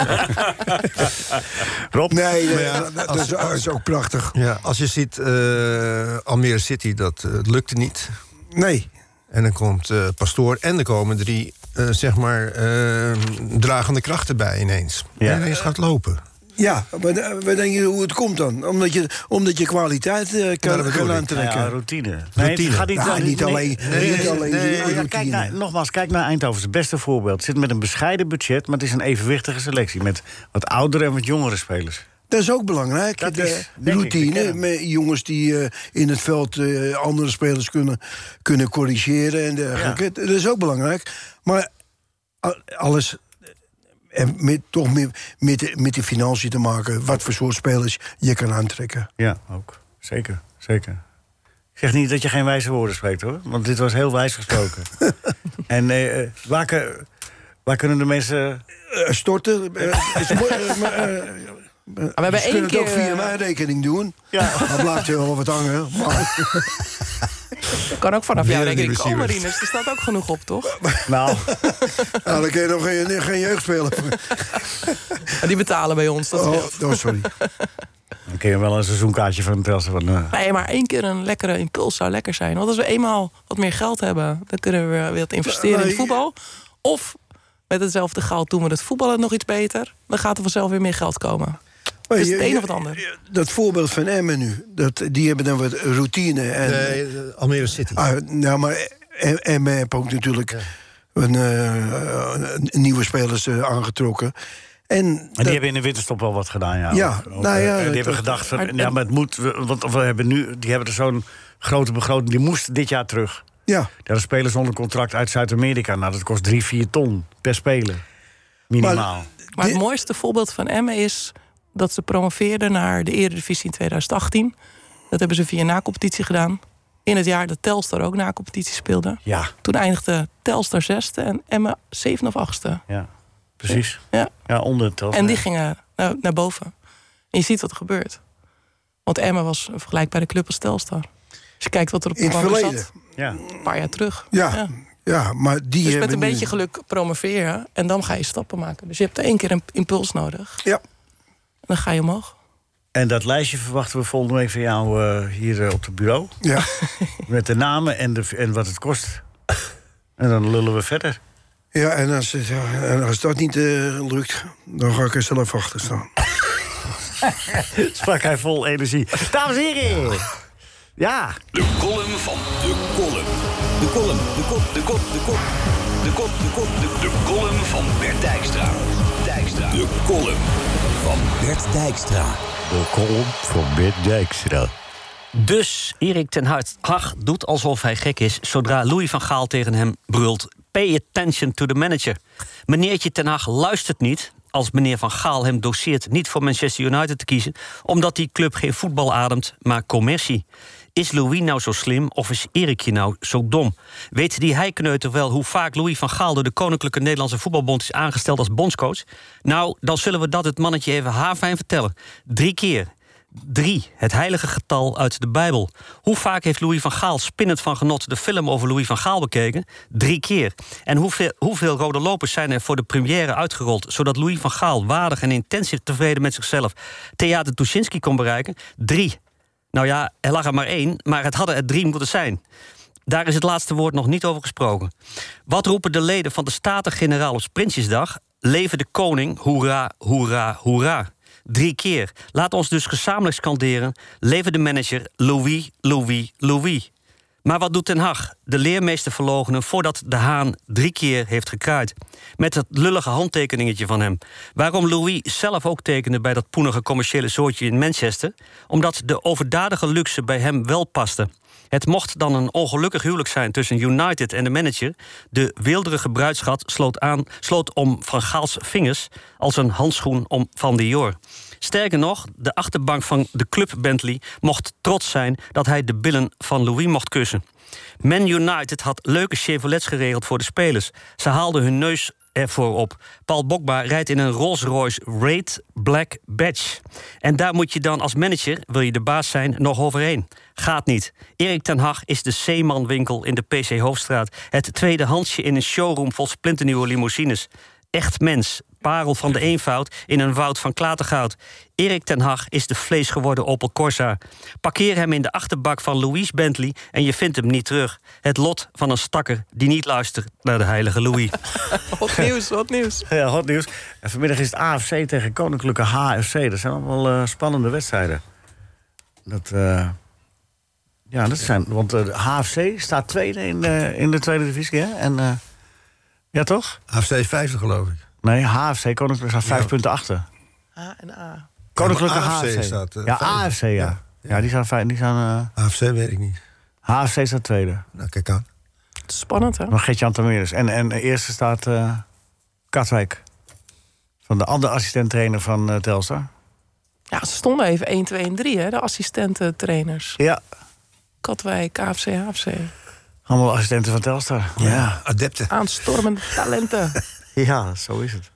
Rob? Nee, nee, dat, dat is, dat is ook prachtig. Ja, als je ziet, eh, Almere City, dat eh, lukte niet. Nee. En dan komt eh, Pastoor en er komen drie, eh, zeg maar, eh, dragende krachten bij ineens. Ja. En ineens gaat lopen. Ja, maar eh, wat denk je hoe het komt dan? Omdat je, omdat je kwaliteit eh, dat kan, bedoel kan ik. Nou aantrekken. ja, routine. Nee, het gaat niet, Nou, niet nee, alleen, niet alleen die Nou ja, kijk routine. naar, nogmaals, kijk naar Eindhoven. Het beste voorbeeld. Het zit met een bescheiden budget, maar het is een evenwichtige selectie. Met wat oudere en wat jongere spelers. Dat is ook belangrijk. Dat de is, denk ik, de routine. kern. met jongens die eh, in het veld eh, andere spelers kunnen, kunnen corrigeren en dergelijke. Ja. Dat is ook belangrijk. Maar a- alles. eh, En met, toch meer met, de- met de financiën te maken. Wat voor soort spelers je kan aantrekken. Ja, ook. Zeker, zeker. Ik zeg niet dat je geen wijze woorden spreekt, hoor. Want dit was heel wijs gesproken. en eh, eh, waar, kun- waar kunnen de mensen... Eh, storten. eh, is mooi, eh, maar, eh, Maar we hebben ze één kunnen het ook keer... via eh, mijn rekening doen. Ja. Dan blijft er wel wat hangen. Maar, kan ook vanaf Weer jouw een rekening nieuwe komen, Siewert. Rinus. Er staat ook genoeg op, toch? Nou, nou, dan kun je nog geen, geen jeugd spelen. Maar Die betalen bij ons. Dat Oh, scheelt. oh, sorry. dan kun je wel een seizoenkaartje van Telstra van... eh, Nee, maar één keer een lekkere impuls zou lekker zijn. Want als we eenmaal wat meer geld hebben, dan kunnen we weer wat investeren in het voetbal. Of met hetzelfde geld doen we het voetballen nog iets beter. Dan gaat er vanzelf weer meer geld komen. Maar Is je- het een je- of het ander? je- Dat voorbeeld van Emmen nu, dat, die hebben dan wat routine. En, Nee, eh, Almere City. Ah, nou, maar Em- Emmen heeft ook natuurlijk een, eh, een nieuwe spelers eh, aangetrokken. En En dat- die hebben in de winterstop wel wat gedaan, ja. Ja, Ook, nou eh, ja, die dat- hebben dat- gedacht, van, maar- ja, maar het moet... we- Want we hebben nu, die hebben er zo'n grote begroting. Die moest dit jaar terug. ja. Ja, de spelers onder contract uit Zuid-Amerika. Nou, dat kost drie, vier ton per speler. Minimaal. Maar het Dit- mooiste voorbeeld van Emmen is dat ze promoveerden naar de Eredivisie in 2018. Dat hebben ze via na-competitie gedaan. In het jaar dat Telstar ook na-competitie speelde. ja, Toen eindigde Telstar zesde en Emmen zevende of achtste. ja, precies. Ja. Ja, onder het En die gingen naar, naar boven. En je ziet wat er gebeurt. Want Emma was een vergelijkbare club als Telstar. Als je kijkt wat er op In het programma verleden. zat, Ja. een paar jaar terug. Ja. Ja, maar die Dus hebben met een nu- beetje geluk promoveren en dan ga je stappen maken. Dus je hebt één keer een impuls nodig Ja, en dan ga je omhoog. En dat lijstje verwachten we volgende week van jou eh, hier eh, op het bureau. ja. Met de namen en, de, en wat het kost. En dan lullen we verder. ja en, als, het- ja, en als dat niet eh, lukt, dan ga ik er zelf achter staan. Sprak hij vol energie. Dames en heren! Ja, De column van de column. De column, de kop, de kop, de kop. De kop, de kop, de De column van Bert Dijkstra. Dijkstra. De column van Bert Dijkstra. de kolom van Bert Dijkstra. Dus Erik ten Hart- Hag doet alsof hij gek is... zodra Louis van Gaal tegen hem brult... Pay attention to the manager. Meneertje ten Hag luistert niet als meneer van Gaal hem doseert... niet voor Manchester United te kiezen... omdat die club geen voetbal ademt, maar commercie. Is Louis nou zo slim of is Erikje nou zo dom? Weet die heikneuter wel hoe vaak Louis van Gaal... door de Koninklijke Nederlandse Voetbalbond is aangesteld als bondscoach? Nou, dan zullen we dat het mannetje even haarfijn vertellen. Drie keer. 3. Het heilige getal uit de Bijbel. Hoe vaak heeft Louis van Gaal spinnend van genot de film over Louis van Gaal bekeken? Drie keer. En hoeveel, hoeveel rode lopers zijn er voor de première uitgerold... zodat Louis van Gaal waardig en intensief tevreden met zichzelf... Theater Tuschinski kon bereiken? Drie. Nou ja, er lag er maar één, maar het hadden er drie moeten zijn. Daar is het laatste woord nog niet over gesproken. Wat roepen de leden van de Staten-Generaal op Prinsjesdag? Leven de koning, hoera, hoera, hoera. Drie keer. Laat ons dus gezamenlijk scanderen... Leven de manager, Louis, Louis, Louis. Maar wat doet Den Haag? De leermeester verlogenen voordat de Haan drie keer heeft gekraaid. Met dat lullige handtekeningetje van hem. Waarom Louis zelf ook tekende bij dat poenige commerciële zootje in Manchester? Omdat de overdadige luxe bij hem wel paste. Het mocht dan een ongelukkig huwelijk zijn tussen United en de manager. De weelderige bruidschat sloot, aan, sloot om Van Gaals vingers als een handschoen om Van Dior. Sterker nog, de achterbank van de club Bentley mocht trots zijn dat hij de billen van Louis mocht kussen. Man United had leuke Chevrolets geregeld voor de spelers. Ze haalden hun neus ervoor op. Paul Bokma rijdt in een Rolls-Royce Raid Black Badge. En daar moet je dan als manager, wil je de baas zijn, nog overheen. Gaat niet. Erik ten Hag is de Zeemanwinkel in de PC Hoofdstraat. Het tweede handje in een showroom vol splinternieuwe limousines. Echt mens, parel van de eenvoud in een woud van klatergoud. Erik ten Hag is de vleesgeworden Opel Corsa. Parkeer hem in de achterbak van Louise Bentley en je vindt hem niet terug. Het lot van een stakker die niet luistert naar de heilige Louis. Wat nieuws, wat nieuws. Ja, hot nieuws. En vanmiddag is het AFC tegen Koninklijke HFC. Dat zijn allemaal eh, spannende wedstrijden. Dat, eh, ja, dat zijn, want eh, de HFC staat tweede in, eh, in de tweede divisie, hè? En, eh, ja, toch? AFC 50 geloof ik. Nee, HFC, Koninklijke staat vijf Ja. punten achter. A en A. Koninklijke maar HFC. AFC staat, eh, ja, vijfde. AFC, ja. Ja, Ja. die zijn... vijf- Die zijn eh, AFC weet ik niet. HFC staat tweede. Nou, kijk aan. Spannend, hè? Maar Gert-Jan Tameres. En, en de eerste staat eh, Katwijk. Van de andere assistent-trainer van eh, Telstar. Ja, ze stonden even 1, 2 en 3, hè? De assistententrainers. Ja, Katwijk, KFC, HFC. allemaal assistenten van Telstar. Ja, Adepten. Aanstormende talenten. ja zo is het.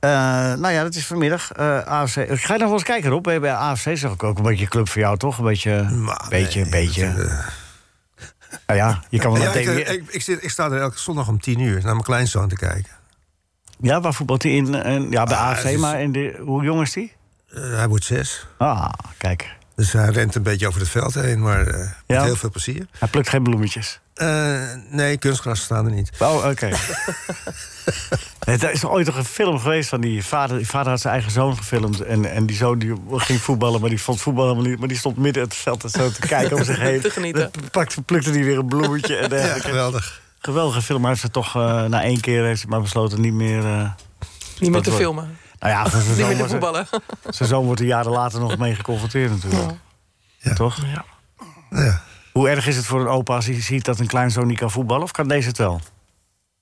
Eh, nou ja, dat is vanmiddag. eh AFC. Ik ga je nog wel eens kijken, Rob. Bij, bij AFC zag ik ook een beetje club voor jou, toch? Een beetje, Maar beetje, nee, een beetje. dat, eh, Nou ja, je kan wel ja, naar ik, eh, TV. ik, ik, zit, ik sta er elke zondag om 10 uur naar mijn kleinzoon te kijken. Ja, waar voetbalt hij in? En, ja, bij Ah, AFC, het is- maar in de, hoe jong is hij? Eh, hij wordt zes. Ah, kijk. Dus hij rent een beetje over het veld heen, maar eh, Ja. met heel veel plezier. Hij plukt geen bloemetjes. Eh, nee, kunstgras staan er niet. Oh, oké. Nee, Er is ooit nog een film geweest van die vader. Die vader had zijn eigen zoon gefilmd. En, en die zoon die ging voetballen, maar die vond voetbal helemaal niet. Maar die stond midden in het veld en zo te kijken om zich heen. Te genieten. Dan pakte, plukte hij weer een bloemetje. En Ja, dergelijke. geweldig. Geweldige film. Maar hij heeft het toch eh, na één keer heeft hij maar besloten niet meer... eh, Niet meer te wordt- filmen. nou ja, voor zijn, Niet zoon meer te wordt er- voetballen. zijn zoon wordt er jaren later nog mee geconfronteerd natuurlijk. Ja. Toch? Ja. Hoe erg is het voor een opa als hij ziet dat een kleinzoon niet kan voetballen? Of kan deze het wel?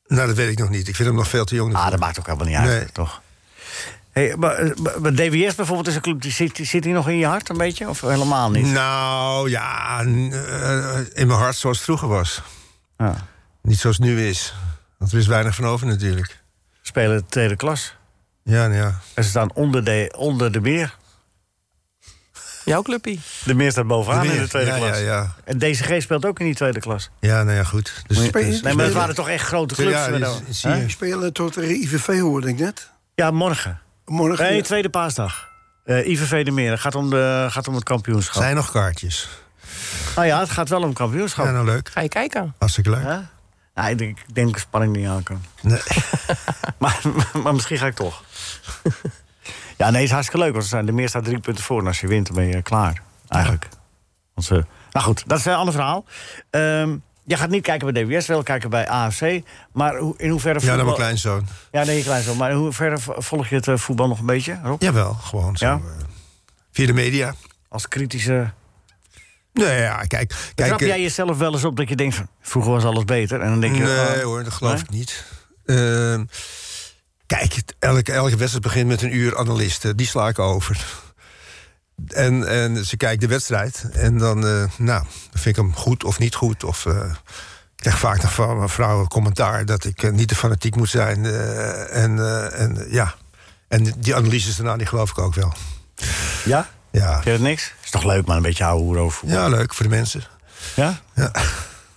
Nou, dat weet ik nog niet. Ik vind hem nog veel te jong. Ah, dat maakt ook helemaal niet uit, Nee. toch? Hey, maar, eh, maar- maar DWS bijvoorbeeld is een club, die zit, die zit die nog in je hart een beetje? Of helemaal niet? Nou, ja, n- eh, in mijn hart zoals het vroeger was. Ja. Niet zoals het nu is. Want er is weinig van over natuurlijk. Spelen tweede klas. Ja, nou ja. En ze staan onder de, onder de meer. Jouw clubpie. De meer staat bovenaan De Meer, in de tweede ja, klas. ja, ja. En DCG speelt ook in die tweede klas. Ja, nou ja, goed. Dus, Speel je- dus- Nee, maar dat waren toch echt grote clubs. Ja, met- die- zie Hè? je. Spelen tot de IVV hoorde ik net. ja morgen. Morgen. Nee, tweede paasdag. Eh IVV de Meer. Het gaat om, de, gaat om het kampioenschap. Zijn nog kaartjes? Nou ja, het gaat wel om kampioenschap. Ja, nou leuk. Ga je kijken. Hartstikke leuk. Hè? Nou, ik denk, ik denk dat ik spanning niet aan kan. Nee. Maar, maar misschien ga ik toch. ja, nee, het is hartstikke leuk. Want er zijn- de meer staat drie punten voor. En als je wint, dan ben je klaar. Eigenlijk. Want ze, nou goed, dat is een ander verhaal. Ehm, je gaat niet kijken bij DWS, wel kijken bij AFC. Maar hoe- in hoeverre... Ja, dan mijn voetbal- kleinzoon. Ja, nee, je kleinzoon. Maar in hoeverre vo- volg je het eh, voetbal nog een beetje, Rob? Jawel, gewoon zo. Ja? eh, Via de media. Als kritische... Nee, ja, kijk. kijk Trap eh, jij jezelf wel eens op dat je denkt van... Vroeger was alles beter. En dan denk je... nee oh, hoor, dat geloof nee? ik niet. Ehm, kijk, het- elke, elke wedstrijd begint met een uur analisten. Die sla ik over. En, en ze kijkt de wedstrijd. En dan, eh, nou, vind ik hem goed of niet goed. Of, eh, ik krijg vaak nog van mijn vrouw een commentaar... dat ik eh, niet te fanatiek moet zijn. eh, en, eh, en eh, ja, en die analyses daarna, die geloof ik ook wel. Ja? Ja, Vind je dat niks? Is toch leuk, maar een beetje ouwe hoer over voetbal. ja leuk voor de mensen. Ja? Ja.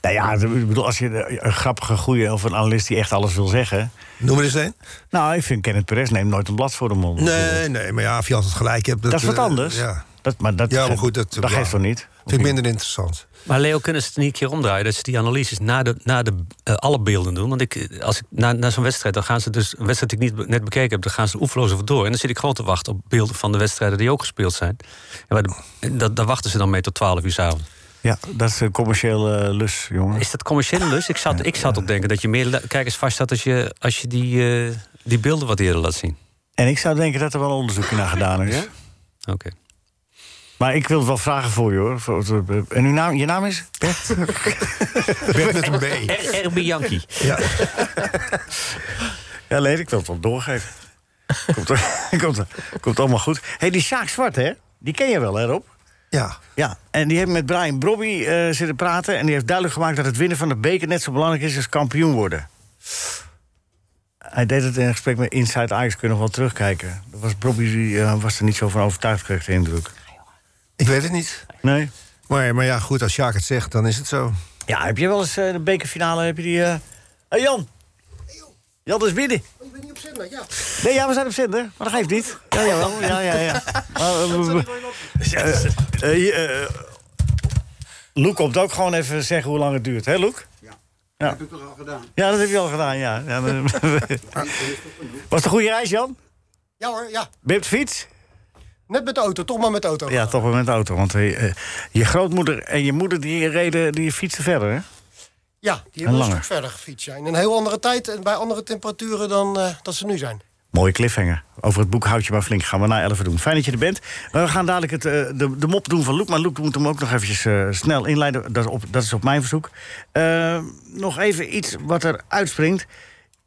Nou ja, ik bedoel, als je de- een grappige, goede of een analist die echt alles wil zeggen. Noem er eens een. Nou, ik vind Kenneth Perez neemt nooit een blad voor de mond. Nee, nee, maar ja, of je altijd gelijk hebt... Dat is wat eh, anders. Ja, Dat, maar dat, Ja, maar goed, dat- dat geeft toch niet? vind ik minder interessant. Maar Leo, kunnen ze het niet een keer omdraaien? Dat ze die analyses na, de, na de, eh, alle beelden doen? Want ik, eh, als ik, na, na zo'n wedstrijd, dan gaan ze dus... Een wedstrijd die ik niet, be- net bekeken heb, dan gaan ze oefenloos over door. En dan zit ik gewoon te wachten op beelden van de wedstrijden die ook gespeeld zijn. En waar de- en dat, daar wachten ze dan mee tot 12 uur s'avonds. Ja, dat is een commerciële eh, lus, jongen. Is dat commerciële lust? Ik zat, ik zat op denken dat je meer lu- kijkers vast had als je, als je die, eh, die beelden wat eerder laat zien. En ik zou denken dat er wel een onderzoekje naar gedaan is. Oké. Maar ik wil het wel vragen voor je, hoor. Voor- voor- En uw naam, je naam is? Bert met een B. R- RB Yankee. Ja. Ja, nee, ik wil het wel doorgeven. komt, komt, komt allemaal goed. Hé, hey, die Sjaak Zwart, hè? Die ken je wel, hè, Rob? Ja, Ja, en die heeft met Brian Brobby eh, zitten praten... en die heeft duidelijk gemaakt dat het winnen van de beker... net zo belangrijk is als kampioen worden. Hij deed het in een gesprek met Inside Ajax, kunnen we wel terugkijken. Dat was Brobby die, eh, was er niet zo van overtuigd, kreeg de indruk. ik weet het niet. Nee? Maar, maar ja, goed, als Sjaak het zegt, dan is het zo. Ja, heb je wel eens eh, de bekerfinale, heb je die... eh, hey Jan! Jan is binnen. Ik ben Oh, niet op zender, ja. Nee, ja, we zijn op zender, maar dat geeft niet. Ja, jawel. Ja, ja, ja. Maar, eh, eh, eh, eh, Loek komt ook gewoon even zeggen hoe lang het duurt, hè Loek? Dat heb ik toch al gedaan. Ja, dat heb je al gedaan, ja. Ja, dan- Was het een goede reis, Jan? Ja hoor, ja. Ben je op de fiets? Net met de auto, toch maar met de auto. Ja, toch wel met de auto. Want eh, eh, je grootmoeder en je moeder die reden, die fietsen verder, hè? Ja, die En hebben een langer. stuk verder gefietst. Ja. In een heel andere tijd en bij andere temperaturen dan eh, dat ze nu zijn. Mooie cliffhanger. Over het boek houd je maar flink. Gaan we na 11 doen. Fijn dat je er bent. Maar we gaan dadelijk het, eh, de, de mop doen van Loek. Maar Loek moet hem ook nog eventjes eh, snel inleiden. Dat, is op, dat is op mijn verzoek. Eh, nog even iets wat er uitspringt.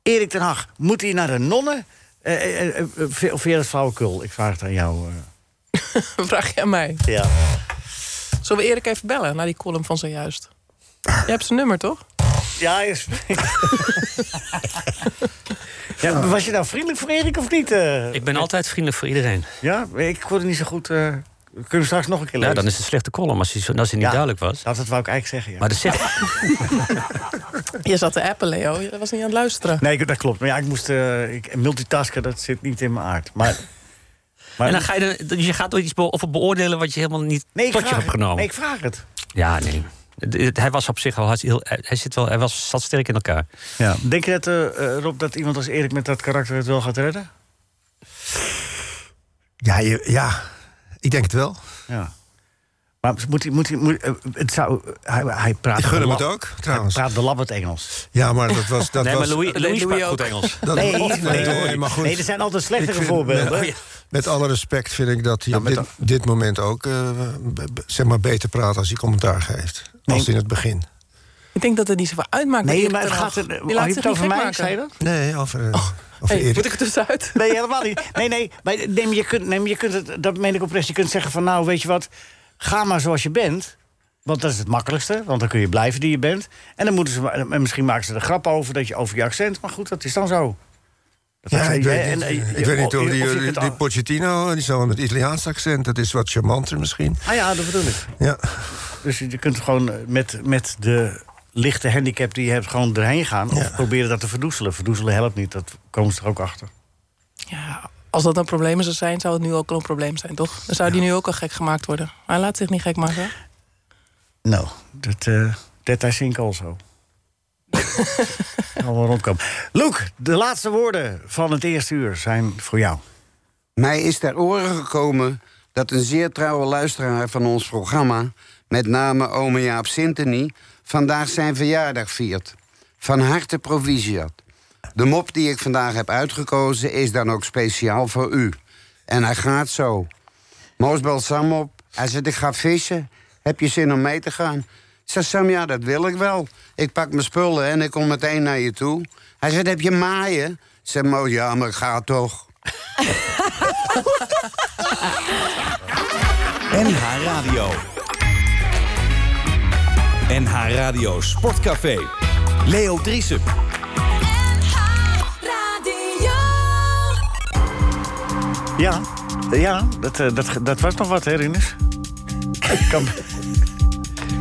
Erik ten Hag, moet hij naar de nonnen? Eh, eh, eh, eh, vind- of vind je dat flauwekul? Ik vraag het aan jou. eh. Vraag je aan mij. Ja. Zullen we Erik even bellen naar die column van zojuist? Je hebt zijn nummer, toch? Ja, is... ja, was je nou vriendelijk voor Erik of niet? eh? Ik ben altijd vriendelijk voor iedereen. Ja, ik hoorde niet zo goed. eh, we kunnen straks nog een keer Ja, lezen. Nou, dan is het een slechte column als hij, zo- als hij niet Ja. duidelijk was. Nou, dat wou ik eigenlijk zeggen, ja. Maar dat zegt... Je zat te appen, Leo. Je was niet aan het luisteren. Nee, ik- dat klopt. Maar ja, ik moest... eh, ik, multitasken, dat zit niet in mijn aard. Maar... maar En dan ga je, dan, dus je gaat door iets be- over beoordelen wat je helemaal niet nee, ik tot je vraag hebt het. genomen. Nee, ik vraag het. Ja, nee. Het- het- Hij was op zich al hartst- heel. Hij, zit wel, hij was, zat sterk in elkaar. Ja. Denk je dat, eh, eh, Rob, dat iemand als Erik met dat karakter het wel gaat redden? Ja, je- ja, ik denk het wel. Ja. Maar moet hij... Moet hij moet, eh, het zou, hij, hij praat... Ik gun hem de het lab- ook, Hij trouwens. praat de labbert Engels. Ja, maar dat was... Dat nee, was maar Louis, eh, Louis Louis sprak ook. goed Engels. dat, Nee, nee, nee, maar goed. nee, er zijn altijd Ik slechtere vind- Oh, voorbeelden. Met, met alle respect vind ik dat hij op dit, dit moment ook eh, b- b- zeg maar beter praat als hij commentaar geeft. Als in het begin. Ik denk dat het niet zoveel uitmaakt. bij Nee, Erik maar het ten gaat... Hag. er- Die Eh, had laat je zich het niet over gek mij, maken. Oh, zei je dat? Nee, over, eh, over Hey, Erik. moet ik het dus uit? Nee, helemaal niet. Nee, nee. Maar, nee, maar je kunt, nee, maar je kunt het, dat meen ik oprecht. Je kunt zeggen van nou, weet je wat, ga maar zoals je bent. Want dat is het makkelijkste, want dan kun je blijven die je bent. En dan moeten ze, en misschien maken ze er grap over, dat je over je accent. Maar goed, dat is dan zo. Dat Ja, ik weet en- niet, en- ik weet niet of- of die, eh, of je die, kunt die al- Pochettino, eh, die zal met Italiaans accent, dat is wat charmanter misschien. Ah ja, dat bedoel ik. Ja. Dus je kunt gewoon eh, met, met de lichte handicap die je hebt gewoon erheen gaan. Of proberen dat te verdoezelen. Verdoezelen helpt niet, dat komen ze er ook achter. Als dat een probleem zou zijn, zou het nu ook al een probleem zijn, toch? Dan zou die nu ook al gek gemaakt worden. Maar hij laat zich niet gek maken. Nou, dat, eh that I think also. Allemaal rondkomen. Luke, de laatste woorden van het eerste uur zijn voor jou. Mij is ter oren gekomen dat een zeer trouwe luisteraar van ons programma... met name ome Jaap Sintony, vandaag zijn verjaardag viert. Van harte proficiat. De mop die ik vandaag heb uitgekozen is dan ook speciaal voor u. En hij gaat zo. Moos belt Sam op. Hij zegt, ik ga vissen. Heb je zin om mee te gaan? Ik zeg, Sam, ja, dat wil ik wel. Ik pak mijn spullen en ik kom meteen naar je toe. Hij zegt, heb je maaien? Ik zeg, Moos, ja, maar ik ga toch. NH Radio. NH Radio Sportcafé. Leo Driessen. Radio. Ja, ja dat, eh, dat, dat was nog wat, hè, Rinus? Ik kan...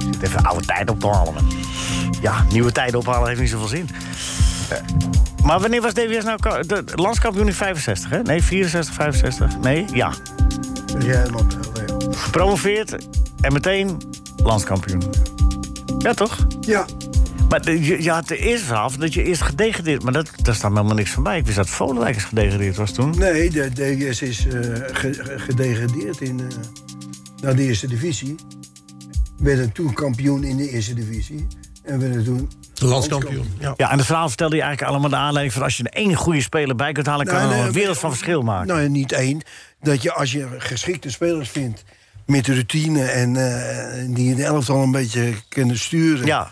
Ik zit even oude tijd op te halen. man. Ja, nieuwe tijd ophalen heeft niet zoveel zin. Eh, Maar wanneer was DWS nou... ka- De, de landskampioen in 65, hè? Nee, 64, 65? Nee, ja. Ja, man. Gepromoveerd en meteen landskampioen. Ja, toch? Ja. Maar de- je, je had de eerste verhaal van dat je eerst gedegradeerd... Maar dat, daar staat me helemaal niks van bij. Ik wist dat Volendijk eens gedegradeerd was toen. Nee, de DWS is eh, ge- ge- gedegradeerd in, eh, naar de eerste divisie. Werden toen kampioen in de eerste divisie. En werden toen... Landskampioen. Ja. en het verhaal vertelde je eigenlijk allemaal de aanleiding van... als je er één goede speler bij kunt halen... kan Nou, er nee, een wereld van verschil maken. Nou, niet één. Dat je als je geschikte spelers vindt met routine en eh, die de elftal een beetje kunnen sturen... Ja.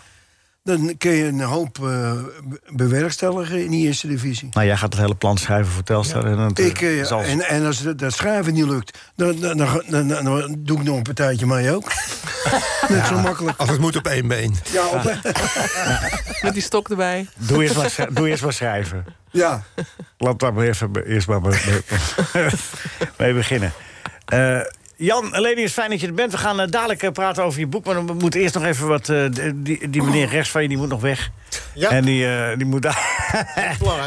dan kun je een hoop eh, be- bewerkstelligen in de eerste divisie. Nou, jij gaat het hele plan schrijven voor Telstar. En, dan- Ik, eh, zal- en, en als dat, dat schrijven niet lukt, dan, dan, dan, dan- dan- dan doe ik nog een partijtje mee ook. Net zo makkelijk. Als het moet op één been. Ja, op- Met die stok erbij. doe, eerst maar, schrij- doe eerst maar schrijven. ja. Laat daar maar even be- eerst maar be- be- mee beginnen. Eh, Jan, Lenius, fijn dat je er bent. We gaan eh, dadelijk eh, praten over je boek. Maar we moeten eerst nog even wat... eh, d- die, die meneer rechts van je, die moet nog weg. Ja. En die, eh, die moet daar...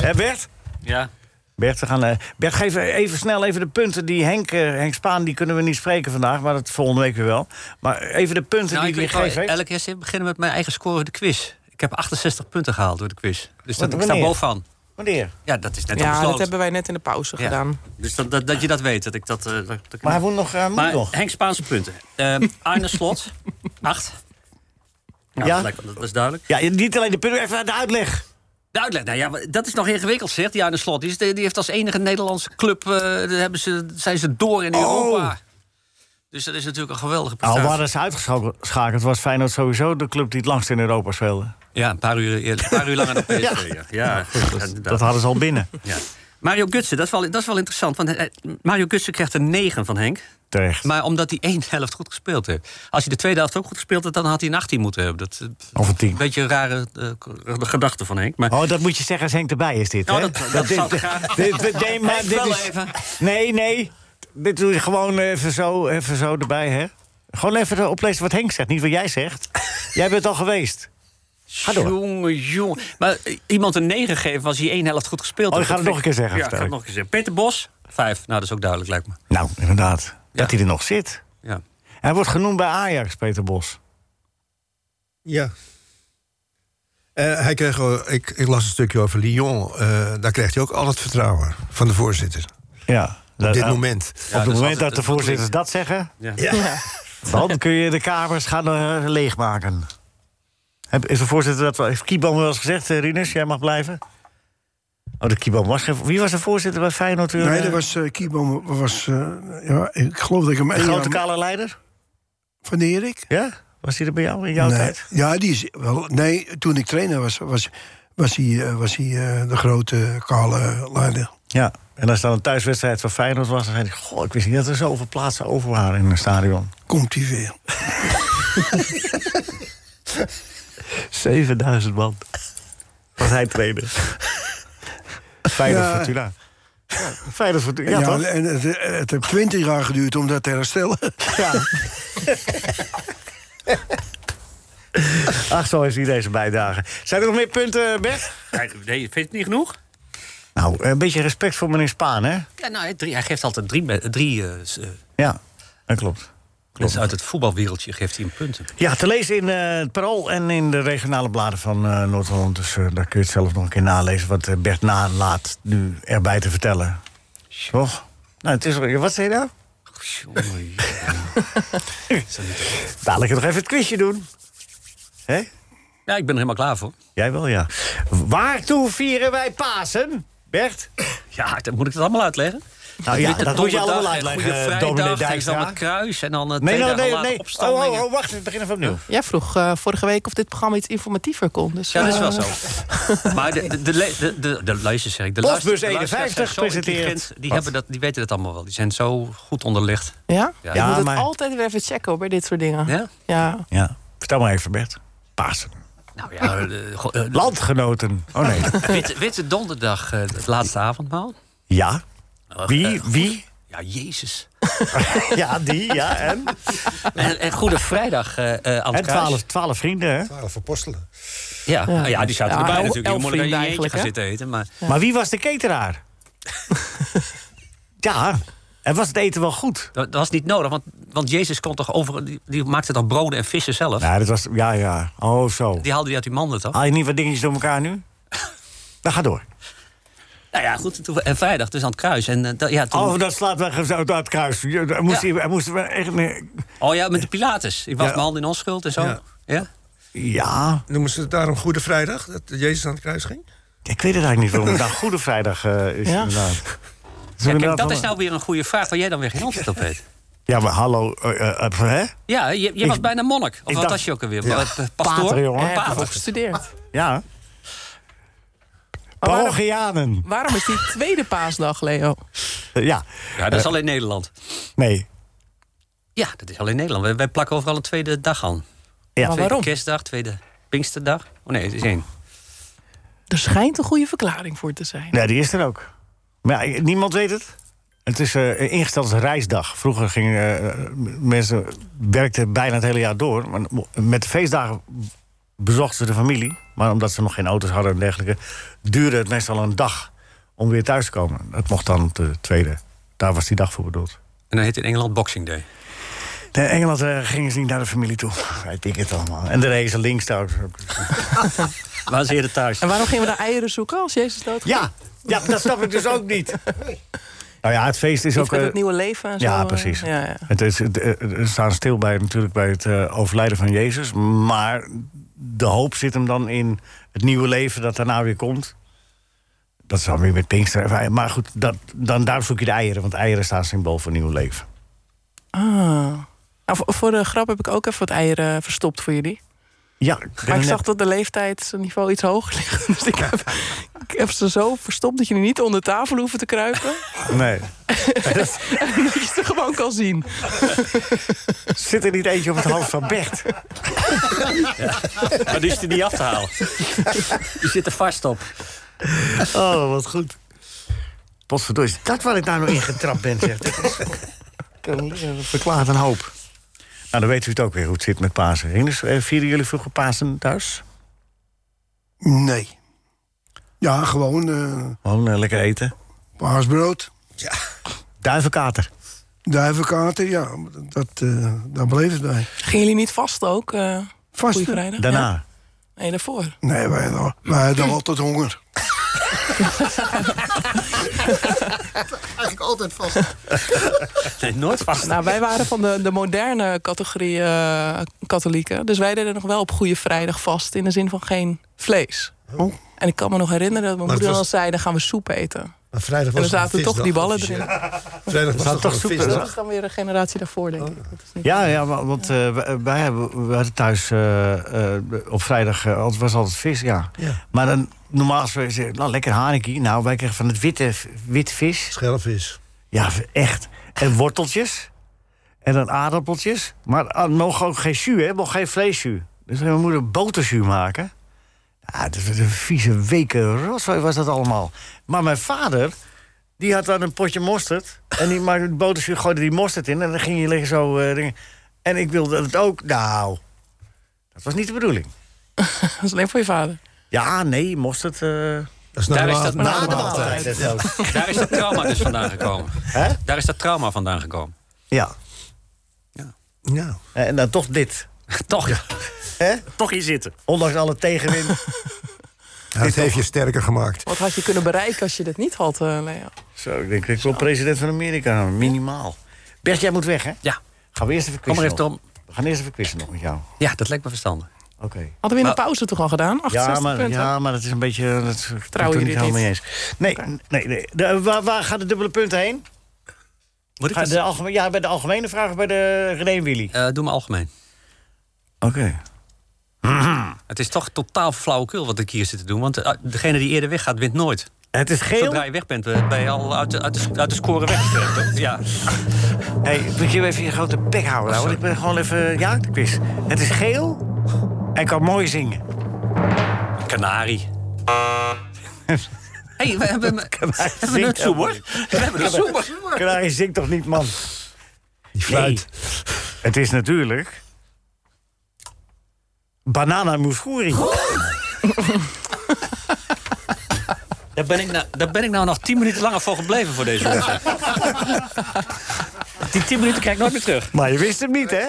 Hè, Bert? Ja. Bert, we gaan, eh, Bert, geef even snel even de punten die Henk, eh, Henk Spaan... die kunnen we niet spreken vandaag, maar dat volgende week weer wel. Maar even de punten Nou, ik die hij wil gewoon geeft. hè? elke keer beginnen met mijn eigen score in de quiz. Ik heb 68 punten gehaald door de quiz. Dus Wat- dat, ik sta wanneer? bovenaan. Wanneer? Ja, dat is net al Ja, besloten. dat hebben wij net in de pauze Ja. gedaan. Dus dat, dat, dat je dat weet. Dat ik dat, eh, dat, dat ik- Maar hij moet nog... eh, moet Maar nog. Henk Spaanse punten. Ehm Arne Slot, 8. Nou, Ja? dat, lijkt- dat is duidelijk. Ja, niet alleen de punten, even de uitleg. De uitleg, nou ja, dat is nog ingewikkeld, zegt die Arne Slot. Die, is de- die heeft als enige Nederlandse club, eh, daar hebben ze, zijn ze door in Europa. Dus dat is natuurlijk een geweldige Oh. Nou, prestatie. we hadden ze uitgeschakeld. Was Feyenoord sowieso de club die het langst in Europa speelde. Ja, een paar uur, eerder- een paar uur langer dan PSV. ja. Ja, ja, inderdaad. Dat hadden ze al binnen. Ja. Mario Gutsen, dat is wel, dat is wel interessant. Want hij- Mario Gutsen krijgt een 9 van Henk. Terecht. Maar omdat hij één helft goed gespeeld heeft. Als hij de tweede helft ook goed gespeeld had, dan had hij een 18 moeten hebben. Dat, eh, Of een Een 10. beetje een rare eh, k- gedachte van Henk. Maar Oh, dat moet je zeggen als Henk erbij is dit, Nou, hè? dat- dat dit- zou ik graag- dit- dit- Nee, maar Henk, dit bel is- even. Nee, nee. Dit doe je gewoon even zo, even zo erbij, hè? Gewoon even oplezen wat Henk zegt, niet wat jij zegt. Jij bent al geweest. Ga door. jongen, jongen. Maar eh, iemand een 9 geven was hij één helft goed gespeeld. Oh, heeft. ik ga Dat het nog vind een keer zeggen, Ja, ik ga vertel het ik. nog een keer zeggen. Peter Bos, 5. Nou, dat is ook duidelijk, lijkt me. Nou, inderdaad. Dat hij er nog zit. Ja. Hij wordt genoemd bij Ajax, Peter Bos. Ja. Eh, hij kreeg, wel- ik, ik las een stukje over Lyon. eh, daar kreeg hij ook al het vertrouwen van de voorzitter. Ja. Op dit moment. Ja, op dus dat het is moment dat altijd de een goed voorzitters link. dat zeggen... Ja. dan kun je de kamers gaan eh, leegmaken. Heb- Is de voorzitter dat wel... Heeft Kieboom wel eens gezegd, eh, Rinus, jij mag blijven? Oh, de Kieboom was geen... Wie was de voorzitter bij Feyenoord? weer, Nee, eh, dat was eh Kieboom was, eh, ja, ik geloof dat ik hem De één grote jaar- kale leider? van Erik. Ja? Was hij er bij jou in jouw nee. tijd? Ja, die is wel. Nee, toen ik trainer was, was, was hij, eh, was hij eh, de grote kale leider. Ja. En als dan een thuiswedstrijd van Feyenoord was... dan zei hij, goh, ik wist niet dat er zoveel plaatsen over waren in een stadion. Komt hij weer? 7000 man. Was hij trainer. Feyenoord Ja. Fortuna. Feyenoord Fortuna, ja, Ja, toch? en het, het heeft twintig jaar geduurd om dat te herstellen. Ja. Ach, zo is hij deze bijdrage. Zijn er nog meer punten, Bert? Nee, vind je het niet genoeg? Nou, een beetje respect voor meneer Spaan, hè? Ja, nou, hij- drie, hij geeft altijd drie, me- drie eh, s- eh, Ja, dat klopt. mensen uit het voetbalwereldje geeft hij een punten. Ja, te lezen in eh, het Parool en in de regionale bladen van eh, Noord-Holland. Dus eh, daar kun je het zelf nog een keer nalezen wat eh, Bert nalaat nu erbij te vertellen. Toch? Nou, het is, er- wat zei je nou? Dadelijk nog even het quizje doen. Hè? Ja, ik ben er helemaal klaar voor. Jij wel, ja. Waartoe vieren wij Pasen, Bert? Ja, dan moet ik dat allemaal uitleggen. Nou ja, dat moet je allemaal uitleggen, Goede eh, dominee vrijdag, en dan Dijkstra. het kruis en dan eh, het Nee, nee, nou, nee, nee, nee. opstandingen. Oh, oh, oh, wacht, we beginnen van opnieuw. Jij vroeg eh, vorige week of dit programma iets informatiever kon. Dus, Ja, dat is wel eh, zo. maar de, de, de, le- de, de, de luister, zeg ik. De Postbus luister- de luisteraars zijn 51 zo intelligent, presenteert. Die, Wat? hebben dat, die weten dat allemaal wel. Die zijn zo goed onderlegd. Ja? Ja. Ik moet het maar- altijd weer even checken hoor, bij dit soort dingen. Ja? Ja. Ja, vertel maar even, Bert. Pasen. Nou ja, eh, go- eh, Landgenoten. Oh nee. Witte, Witte Donderdag, eh, het laatste avondmaal. eh, Ja. Wie? Wie? Ja, Jezus. Ja, die, ja, en? En, en Goede Vrijdag eh, eh, aan En het kruis. twaalf, twaalf vrienden, hè? Twaalf apostelen. Ja, Ja. ja. ja, die zaten Ja, erbij elf- natuurlijk. elf Je moet er niet vrienden in je eentje eigenlijk, gaan hè? zitten eten. Maar Maar wie was de cateraar? ja, en was het eten wel goed? dat, dat was niet nodig, want, want Jezus kon toch over... Die, die maakte toch broden en vissen zelf? Ja, dat was, ja, ja. Oh, zo. Die haalde hij uit die manden toch? Haal je niet wat dingetjes door elkaar nu? Dan ga door. Nou ja, goed. toen- en vrijdag, dus aan het kruis. En, eh, dat- ja, toen, Oh, dat slaat weg zo uit het kruis. Ja, daar Moest Ja. hij, hij moest wel echt meer... Oh ja, met de Pilatus. Ik was Ja. mijn hand in onschuld en zo. Ja. Ja. Ja, Noemen ze het daarom Goede Vrijdag, dat Jezus aan het kruis ging? ik weet het eigenlijk niet waarom. Nou, Goede Vrijdag eh, is Ja. inderdaad. Is Ja, inderdaad kijk, dat wel- is nou weer een goede vraag waar jij dan weer geen antwoord op weet. Ja, maar hallo, eh, eh, eh, hè? Ja, je, je was bijna monnik. Of ik wat dacht- was je ook alweer? Ja. Pa- pa- Pastoor? Pater, jongen. Eh, Heb je Pater. gestudeerd. Ja. waarom- Parochianen. Waarom is die tweede paasdag, Leo? Eh, Ja, Ja, dat is alleen Nederland. nee. Ja, dat is alleen Nederland. Wij, wij plakken overal een tweede dag aan. Ja. Maar Tweede waarom? kerstdag, tweede Pinksterdag. Oh nee, het is één. Er schijnt een goede verklaring voor te zijn. Nee, die is er ook. Maar ja, niemand weet het. Het is eh, ingesteld als reisdag. Vroeger gingen eh, mensen werkten bijna het hele jaar door. Maar met de feestdagen bezochten ze de familie. Maar omdat ze nog geen auto's hadden en dergelijke, duurde het meestal een dag om weer thuis te komen. Dat mocht dan op de tweede. Daar was die dag voor bedoeld. En dan heet in Engeland Boxing Day. In Engeland eh, gingen ze niet naar de familie toe. Ik denk het allemaal. En de race links trouwens. ook. Waar is eerder thuis? En waarom gingen we naar eieren zoeken als Jezus dood Ja, ja dat snap ik dus ook niet. Nou ja, het feest is ook... Iets met eh, het nieuwe leven en zo. ja, eh, precies. Ja, ja. Het is, het, eh, we staan stil bij, natuurlijk bij het eh, overlijden van Jezus. Maar de hoop zit hem dan in het nieuwe leven dat daarna weer komt. Dat is dan weer met Pinkster. Maar goed, dat, dan, daar zoek je de eieren. Want eieren staan symbool voor nieuw leven. Ah. Nou, voor, voor de grap heb ik ook even wat eieren verstopt voor jullie. Ja, ik ben Maar er ik zag net- dat de leeftijdsniveau iets hoger ligt. Dus ik heb, ik heb ze zo verstopt dat jullie niet onder tafel hoeven te kruipen. Nee. en dat je ze gewoon kan zien. Zit er niet eentje op het hoofd van Bert? Maar die is er niet af te halen. Die zit er vast op. Oh, wat goed. Potverdorie, is dat waar ik daar nou in getrapt ben, zeg. Dat is- eh, Dat verklaart een hoop. Nou, dan weet u het ook weer hoe het zit met Pasen. Rinus, eh, vieren jullie vroeger Pasen thuis? Nee. Ja, gewoon eh Gewoon eh, lekker eten. paasbrood, Duivenkater. duivenkater, ja, dat, eh, daar bleef het bij. Gingen jullie niet vast ook? eh Vast. Goeie vrijdag? Daarna. Ja. Nee, daarvoor. Nee, wij, hadden- wij hadden altijd honger. Eigenlijk altijd vast. Nee, nooit vast. Nou, wij waren van de, de moderne categorie eh, katholieken. Dus wij deden nog wel op Goede Vrijdag vast. In de zin van geen vlees. Oh. En ik kan me nog herinneren dat mijn het moeder was- al zei... dan gaan we soep eten. Maar vrijdag was en er zaten toch die ballen erin. Vrijdag was toch, toch een soep Dat visdag? Oh. was dan weer een generatie daarvoor, denk ik. Dat is niet- Ja, ja, maar- want eh, wij- wij hebben, we hadden thuis eh, eh, op vrijdag eh, altijd- was altijd vis, ja. Ja. Maar dan, normaal als we zeggen, nou, lekker hanekie. Nou, wij kregen van het witte, wit vis. Schelvis. Ja, echt. En worteltjes. En dan aardappeltjes. ah, Maar er mogen ook geen jus, hè? Mogen geen vleesjus. Dus mijn moeder boterjus maken. Ah, dat was een vieze, weken rotzooi was dat allemaal. Maar mijn vader, die had dan een potje mosterd. En die maakte boterzuur, gooide die mosterd in. En dan ging je liggen zo... eh, dingen. en ik wilde het ook. Nou, dat was niet de bedoeling. dat is alleen voor je vader. Ja, nee, mosterd... eh dat Daar is dat- na na de de maaltijd. Daar is dat trauma dus vandaan gekomen. Daar is dat trauma vandaan gekomen. Ja. Eh, Ja. En dan toch dit. toch. Hè? Toch hier zitten. Ondanks alle tegenwind. Het heeft je sterker gemaakt. Wat had je kunnen bereiken als je dit niet had, eh Leo? Zo, ik denk dat ik wel president van Amerika houden, minimaal. Bert, jij moet weg, hè? Ja. Gaan we eerst even Kom maar quizzen even nog. We gaan eerst even quizzen nog met jou. Ja, dat lijkt me verstandig. Oké. Hadden we in de pauze toch al gedaan? 68 Ja, maar, punten. ja, maar dat is een beetje... eh, Dat Trouwen ik jullie ben het niet? helemaal mee eens. Nee, nee, nee. De- waar, waar gaan de dubbele punten heen? Moet ik Ga dat- de algemeen, ja, bij de algemene vraag of bij de René en Willy? Eh, doe maar algemeen. Oké. Mhm. Het is toch totaal flauwekul wat ik hier zit te doen. Want eh, degene die eerder weggaat, wint nooit. Het is geel. Zodra je weg bent, eh, ben je al uit de, uit de, uit de score weggetrekt. hoor. Ja. Hé, moet je even je grote bek houden, nou, want ik ben gewoon even... Ja, de quiz. Het is geel en kan mooi zingen. Kanarie. Hé, hey, we hebben, we hebben zingt een zoemer. helemaal We hebben een zoemer. Kanarie zingt toch niet, man? Die fluit. Het is natuurlijk... Banana Moussouri. Daar ben, ik nou, daar ben ik nou nog tien minuten langer voor gebleven voor deze wedstrijd. Die tien minuten krijg ik nooit meer terug. Maar je wist hem niet, hè?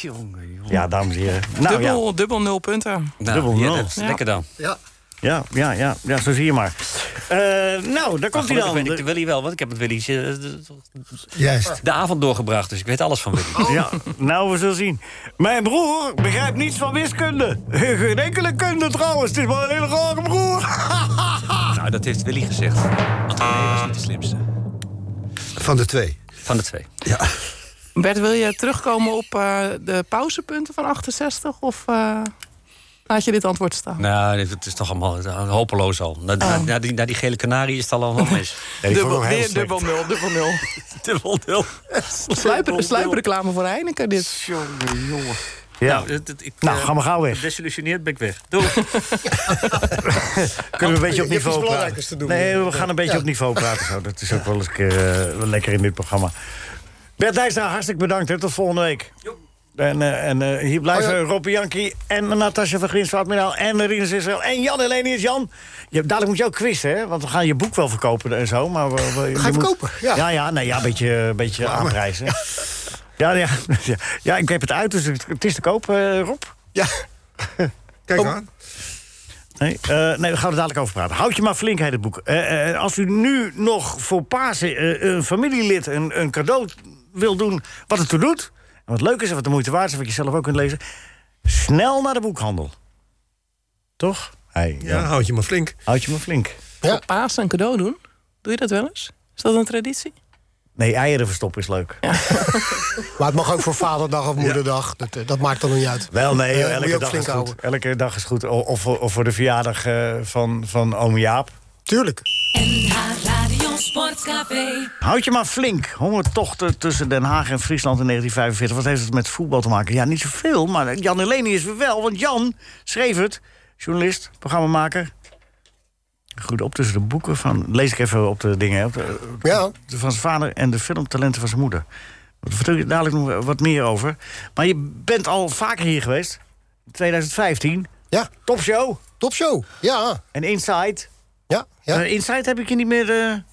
Jongen, jongen. Ja, dames en heren. Nou, ja. dubbel, dubbel nul punten. Nou, dubbel ja, nul. dat is Ja. Lekker dan. Ja. Ja, ja, ja, ja, zo zie je maar. Eh, nou, daar Maar komt hij gelukkig dan. weet ik de Willy wel, want ik heb met Willy eh, de, Juist. de avond doorgebracht. Dus ik weet alles van Willy. Ja, nou, we zullen zien. Mijn broer begrijpt niets van wiskunde. Geen enkele kunde trouwens, het is maar een hele rare broer. nou, dat heeft Willy gezegd. Want René was niet de slimste. Van de twee. Van de twee. Bert, wil je terugkomen op eh, de pauzepunten van 68? Of eh, laat je dit antwoord staan? Nou, het is toch allemaal eh, hopeloos al. Na, Ah. na, na die, na die gele kanarie is het al allemaal mis. dubbel, weer dubbel nul, dubbel nul. Dubbel nul. Sluiper, sluipreclame voor Heineken dit. Ja, Nou, dit- dit- ik, nou, eh, ga maar gauw weg. Desillusioneerd ben ik weg. Doe. Kunnen we een beetje op je hebt iets niveau praten? belangrijkers te doen. Nee, we gaan een beetje Ja. op niveau praten. Zo. Dat is ook wel eens een keer eh, wel lekker in dit programma. Bert Dijkstra, hartstikke bedankt. Hè. Tot volgende week. En, eh, en eh, hier blijven Oh, Rob Robby Jankie en Natasja van Grinsvaartminaal en Rinus Israël en Jan Helenius. Jan, je, dadelijk moet je ook quizzen, hè? Want we gaan je boek wel verkopen en zo. Maar we, we- je moet- verkopen? Ja. Ja, ja, nee, ja een beetje, een beetje aanprijzen. Ja, ja, ja, ja, ik heb het uit, dus het het is te koop, eh, Rob. Ja. Kijk Om- aan. Nee, eh, nee, daar gaan we dadelijk over praten. Houd je maar flink, heet het boek. Eh, eh, als u nu nog voor Pasen eh, een familielid een, een cadeau wil doen... wat het toe doet, en wat leuk is en wat de moeite waard is... en wat je zelf ook kunt lezen, snel naar de boekhandel. Toch? Hey, Ja, ja. houd je maar flink. Houd je maar flink. Voor Paas een cadeau doen. Doe je dat wel eens? Is dat een traditie? Nee, eieren verstoppen is leuk. Maar het mag ook voor vaderdag of moederdag. Dat, eh, dat maakt dan niet uit. Wel, nee, Eh, joh, moet je elke ook dag flink is goed. houden. Elke dag is goed. O- Of, voor- of voor de verjaardag eh, van, van oom Jaap. Tuurlijk. NH Radio Sportcafé. Houd je maar flink. Hongertochten tussen Den Haag en Friesland in 1945. Wat heeft het met voetbal te maken? Ja, niet zoveel, maar Jan Eleni is weer wel. Want Jan schreef het, journalist, programmamaker. Goed, op tussen de boeken van... Lees ik even op de dingen, hè, op de- Ja. van zijn vader en de filmtalenten van zijn moeder. Daar vertel je dadelijk nog wat meer over. Maar je bent al vaker hier geweest. 2015. Ja. Topshow Topshow. Ja. en Inside. Ja. ja. Eh, Inside heb ik je niet meer... eh, ben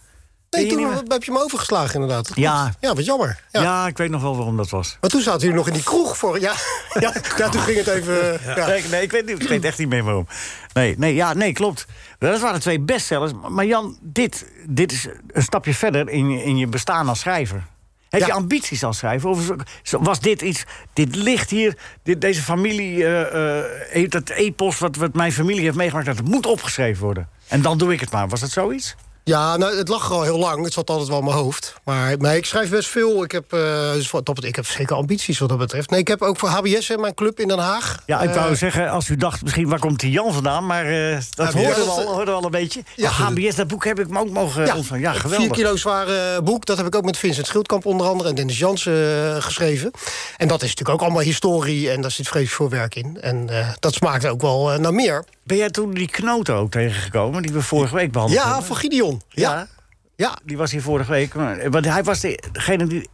Nee, je toen niet meer- heb je hem overgeslagen inderdaad. Dat Ja. klopt. Ja, wat jammer. Ja. Ja. ik weet nog wel waarom dat was. Maar toen zaten jullie nog in die kroeg voor... Ja, ja, ja toen ging het even... eh, Ja. Nee, nee ik, weet, niet- ik weet echt niet meer waarom. Nee, nee, ja, nee klopt. Dat waren twee bestsellers. Maar Jan, dit, dit is een stapje verder in, je- in je bestaan als schrijver. Heb Ja. je ambities als schrijver? Of is- was dit iets... Dit ligt hier, dit, deze familie... eh, eh, heeft dat epos wat, wat mijn familie heeft meegemaakt... dat het moet opgeschreven worden. En dan doe ik het maar. Was dat zoiets? Ja, nou, het lag al heel lang. Het zat altijd wel in mijn hoofd. Maar, maar ik schrijf best veel. Ik heb, eh, dus wat dat betreft- ik heb zeker ambities wat dat betreft. Nee, ik heb ook voor HBS in mijn club in Den Haag. Ja, ik eh, wou zeggen, als u dacht, misschien waar komt die Jan vandaan... maar eh, dat Ja, hoorden we, dat- al, hoorden we al een beetje. Oh, Ja, Maar HBS, dat boek heb ik me ook mogen ja, ontvangen. Ja, het geweldig. Vier kilo zwaar eh, boek. Dat heb ik ook met Vincent Schildkamp onder andere en Dennis Jansen eh, geschreven. En dat is natuurlijk ook allemaal historie en daar zit vreselijk veel werk in. En eh, dat smaakt ook wel eh, naar meer. Ben jij toen die knoten ook tegengekomen die we vorige week behandelden? Ja, voor Gideon. Ja. ja. eh, Die was hier vorige week. Maar, want hij was de- degene die...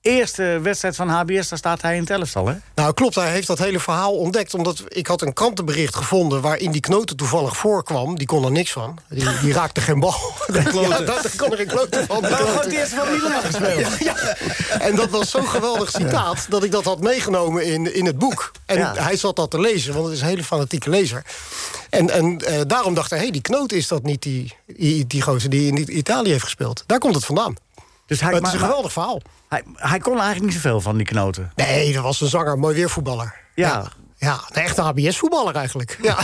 Eerste wedstrijd van HBS, daar staat hij in het elftal, hè? Nou, klopt. Hij heeft dat hele verhaal ontdekt. Omdat ik had een krantenbericht gevonden waarin die knoten toevallig voorkwam. Die kon er niks van. Die, die raakte geen bal. Ja, daar, daar kon er geen klote van. Waarom Die had hij eerst Nou, wel Milan gespeeld? Ja, ja. En dat was zo'n geweldig citaat dat ik dat had meegenomen in, in het boek. En Ja. hij zat dat te lezen, want het is een hele fanatieke lezer. En, en eh, daarom dacht hij, hé, hey, die knoot is dat niet die, die, die gozer die in I- Italië heeft gespeeld. Daar komt het vandaan. Dus Maar hij, het is maar- een maar- geweldig verhaal. hij, hij kon eigenlijk niet zoveel van die knoten. Nee, dat was een zanger, mooi weervoetballer. Ja. Ja, een echte HBS-voetballer eigenlijk. Ja.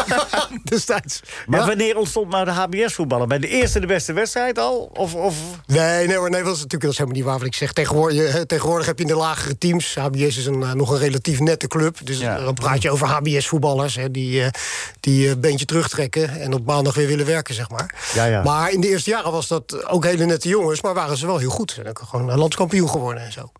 Destijds. Maar Ja. wanneer ontstond nou de HBS-voetballer? Bij de eerste de beste wedstrijd al? Of, of... Nee, nee, hoor, nee, dat is natuurlijk dat is helemaal niet waar wat ik zeg. Tegenwoordig, eh, tegenwoordig heb je in de lagere teams. HBS is een, eh, nog een relatief nette club. Dus Ja. dan praat je over HBS-voetballers hè, die, eh, die een beentje terugtrekken en op maandag weer willen werken, zeg maar. Ja, ja. Maar in de eerste jaren was dat ook hele nette jongens, maar waren ze wel heel goed. Ze zijn ook gewoon eh, landskampioen geworden en zo.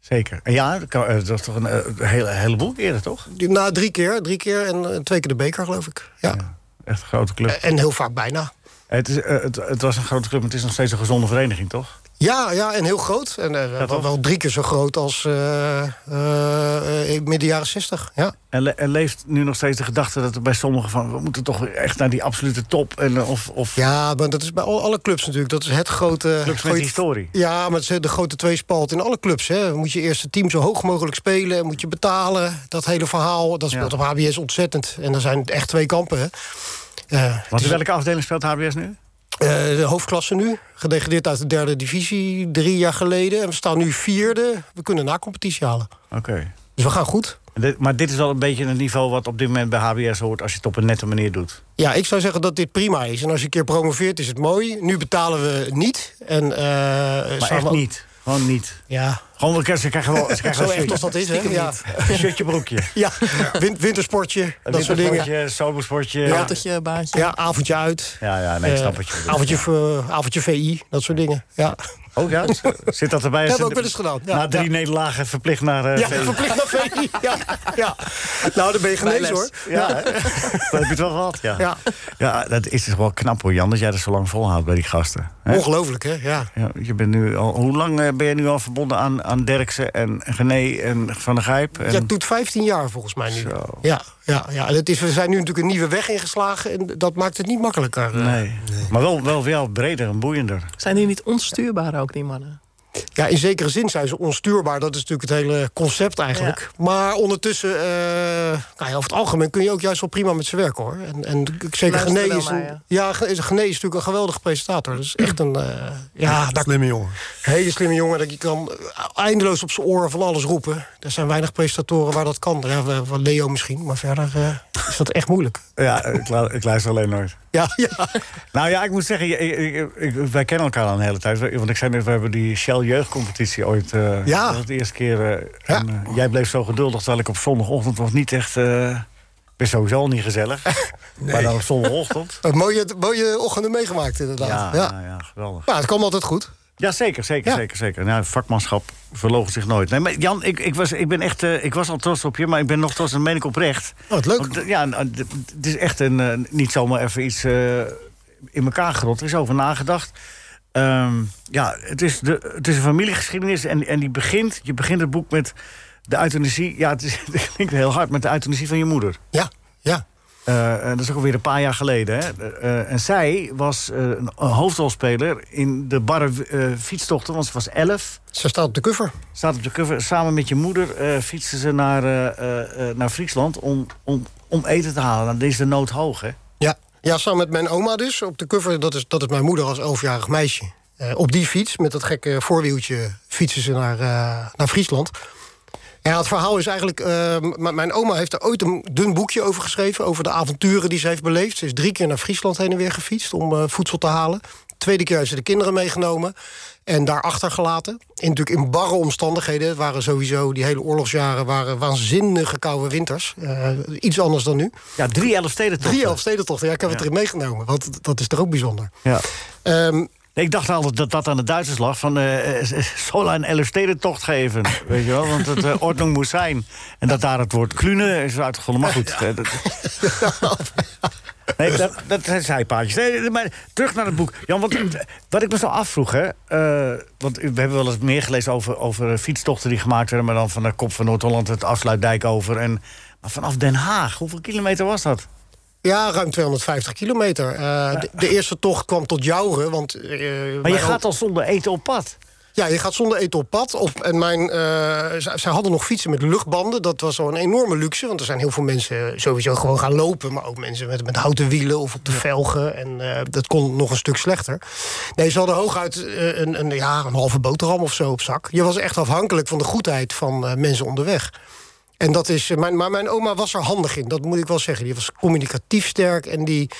Zeker. En Ja, dat kan- eh, dat is toch een, eh, hele, heleboel keren, toch? Die- Na drie keer, drie keer en eh, twee keer de beker, geloof ik. Ja. Echt een grote club. En heel vaak bijna. Het, is, eh, het, het was een grote club, maar het is nog steeds een gezonde vereniging, toch? Ja, ja, en heel groot. En eh, wel- toch? wel drie keer zo groot als eh, eh, eh, midden jaren zestig. Ja. En, le- en leeft nu nog steeds de gedachte dat er bij sommigen van... we moeten toch echt naar die absolute top. En, eh, of, of Ja, maar dat is bij al- alle clubs natuurlijk. Dat is het grote... clubs met grote- historie. Ja, maar het is de grote tweespalt in alle clubs. Hè. Moet je eerste team zo hoog mogelijk spelen, moet je betalen. Dat hele verhaal, dat speelt op HBS ontzettend. En er zijn echt twee kampen. Hè. Eh, het Want is, in welke afdeling speelt HBS nu? eh, de hoofdklasse nu, gedegradeerd uit de derde divisie, drie jaar geleden. En we staan nu vierde. We kunnen na competitie halen. Oké. Dus we gaan goed. En dit- Maar dit is wel een beetje het niveau wat op dit moment bij HBS hoort... als je het op een nette manier doet. Ja, ik zou zeggen dat dit prima is. En als je een keer promoveert, is het mooi. Nu betalen we niet. En, eh Maar staan echt we- niet. Gewoon niet. Ja, Gewoon, ze krijgen wel ze krijgen zo wel echt als dat is, hè? Ja. Een shirtje, broekje. Ja, win- wintersportje, dat soort dingen. Een sobersportje. Ja. Autootje, baantje. Ja, avondje uit. ja, ja, nee, ik snap Eh, wat je bedoelt. avondje, eh, avondje VI, dat soort dingen. Ja. Oh ja, z- zit dat erbij? Dat heb Als ik je ook wel eens gedaan. Ja, na drie ja. nederlagen verplicht naar... eh Ja, VI. verplicht naar VI. Ja, ja. Nou, dan ben je genezen hoor. Bijles. Ja, hè? dat heb je het wel gehad, ja. Ja. Ja, dat is dus wel knap hoor, Jan, dat jij dat zo lang volhoudt bij die gasten. hè? Ongelooflijk, hè? Ja. Ja, je bent nu al, hoe lang eh, ben je nu al verbonden aan, aan Derksen en Gené en Van der Gijp? En, Ja, het doet 15 jaar volgens mij nu. Zo. Ja, ja, ja. En het is, we zijn nu natuurlijk een nieuwe weg ingeslagen en dat maakt het niet makkelijker. nee. Maar wel, wel, wel breder en boeiender. Zijn die niet onstuurbaar ook, die mannen? Ja, in zekere zin zijn ze onstuurbaar. Dat is natuurlijk het hele concept eigenlijk. Maar ondertussen, eh, nou ja, over het algemeen kun je ook juist wel prima met ze werken hoor. En, en k- zeker Luister Gené wel is, naar een, je. ja, Ge- is- Gené is natuurlijk een geweldige presentator. Dus echt een eh, ja, daar, Slimme jongen. hele slimme jongen. Dat je kan eh, eindeloos op zijn oren van alles roepen. Er zijn weinig presentatoren waar dat kan. Ja, wel- wel Leo misschien, maar verder eh, is dat echt moeilijk. Ja, ik, lu- ik luister alleen nooit. Ja, ja. Nou ja, ik moet zeggen, je- ik- ik- ik- wij kennen elkaar al een hele tijd. Want ik zei net, we hebben die Shell jeugdcompetitie ooit. eh Ja. Dat was de eerste keer. eh, Ja. en, eh, jij bleef zo geduldig, terwijl ik op zondagochtend was niet echt... eh, ik ben sowieso al niet gezellig. Maar dan op zondagochtend. Een mooie, mooie ochtenden meegemaakt inderdaad. Ja, Ja, ja, ja, geweldig. Nou, het kwam altijd goed. Ja, zeker, zeker, Ja. zeker, zeker. Nou, vakmanschap verlogen zich nooit. Nee, maar Jan, ik, ik, was, ik, ben echt, eh, ik was al trots op je, maar ik ben nog trots en dat meen ik oprecht. Oh, wat leuk. Want, eh, ja, nou, d- d- het is echt een, eh, niet zomaar even iets eh, in elkaar gerot. Er is over nagedacht. Ehm, ja, het is, de, het is een familiegeschiedenis en, en die begint... Je begint het boek met de euthanasie... Ja, het, is, het klinkt heel hard, met de euthanasie van je moeder. Ja, ja. Eh, en dat is ook alweer een paar jaar geleden. Hè? Eh, en zij was eh, een een hoofdrolspeler in de barre eh, fietstochten, want ze was 11. Ze staat op de cover. Staat op de cover. Samen met je moeder eh, fietsten ze naar, eh, eh, eh, naar Friesland om, om, om eten te halen. Nou, dan is de nood hoog, hè? Ja, ja samen met mijn oma dus. Op de cover, dat is, dat is mijn moeder als elfjarig meisje. Eh, op die fiets, met dat gekke voorwieltje, fietsen ze naar, eh, naar Friesland. Ja, het verhaal is eigenlijk... eh, m- mijn oma heeft er ooit een dun boekje over geschreven... over de avonturen die ze heeft beleefd. Ze is drie keer naar Friesland heen en weer gefietst om eh, voedsel te halen. Tweede keer heeft ze de kinderen meegenomen en daar achtergelaten. In, natuurlijk in barre omstandigheden. Het waren sowieso, die hele oorlogsjaren waren waanzinnige koude winters. Eh, iets anders dan nu. Ja, drie elf steden toch? Drie elfstedentochten, ja, ik heb het erin meegenomen. Want dat is toch ook bijzonder. Ja. Ehm, Nee, ik dacht altijd dat dat aan de Duitsers lag. Van eh, eh, Sola een Elfstedentocht geven. Weet je wel, want het eh, ordnung moest zijn. En dat daar het woord klune is uitgevonden. Maar goed. eh, dat- Nee, dat, dat zijn zijpaadjes. Nee, nee, maar terug naar het boek. Jan, want, eh, wat ik me zo afvroeg, hè. eh, want we hebben wel eens meer gelezen over, over fietstochten die gemaakt werden. Maar dan van de kop van Noord-Holland het afsluitdijk over. En, maar vanaf Den Haag, hoeveel kilometer was dat? Ja, ruim 250 kilometer. Eh, de, de eerste tocht kwam tot Jouren. Want, eh, Maar mijn je oom- gaat al zonder eten op pad. Ja, je gaat zonder eten op pad. Op, en mijn, eh, z- zij hadden nog fietsen met luchtbanden. Dat was al een enorme luxe. Want er zijn heel veel mensen sowieso gewoon gaan lopen. Maar ook mensen met, met houten wielen of op de velgen. En eh, dat kon nog een stuk slechter. Nee, ze hadden hooguit eh, een, een, ja, een halve boterham of zo op zak. Je was echt afhankelijk van de goedheid van eh, mensen onderweg. En dat is, eh, mijn, maar mijn oma was er handig in, dat moet ik wel zeggen. Die was communicatief sterk. En die,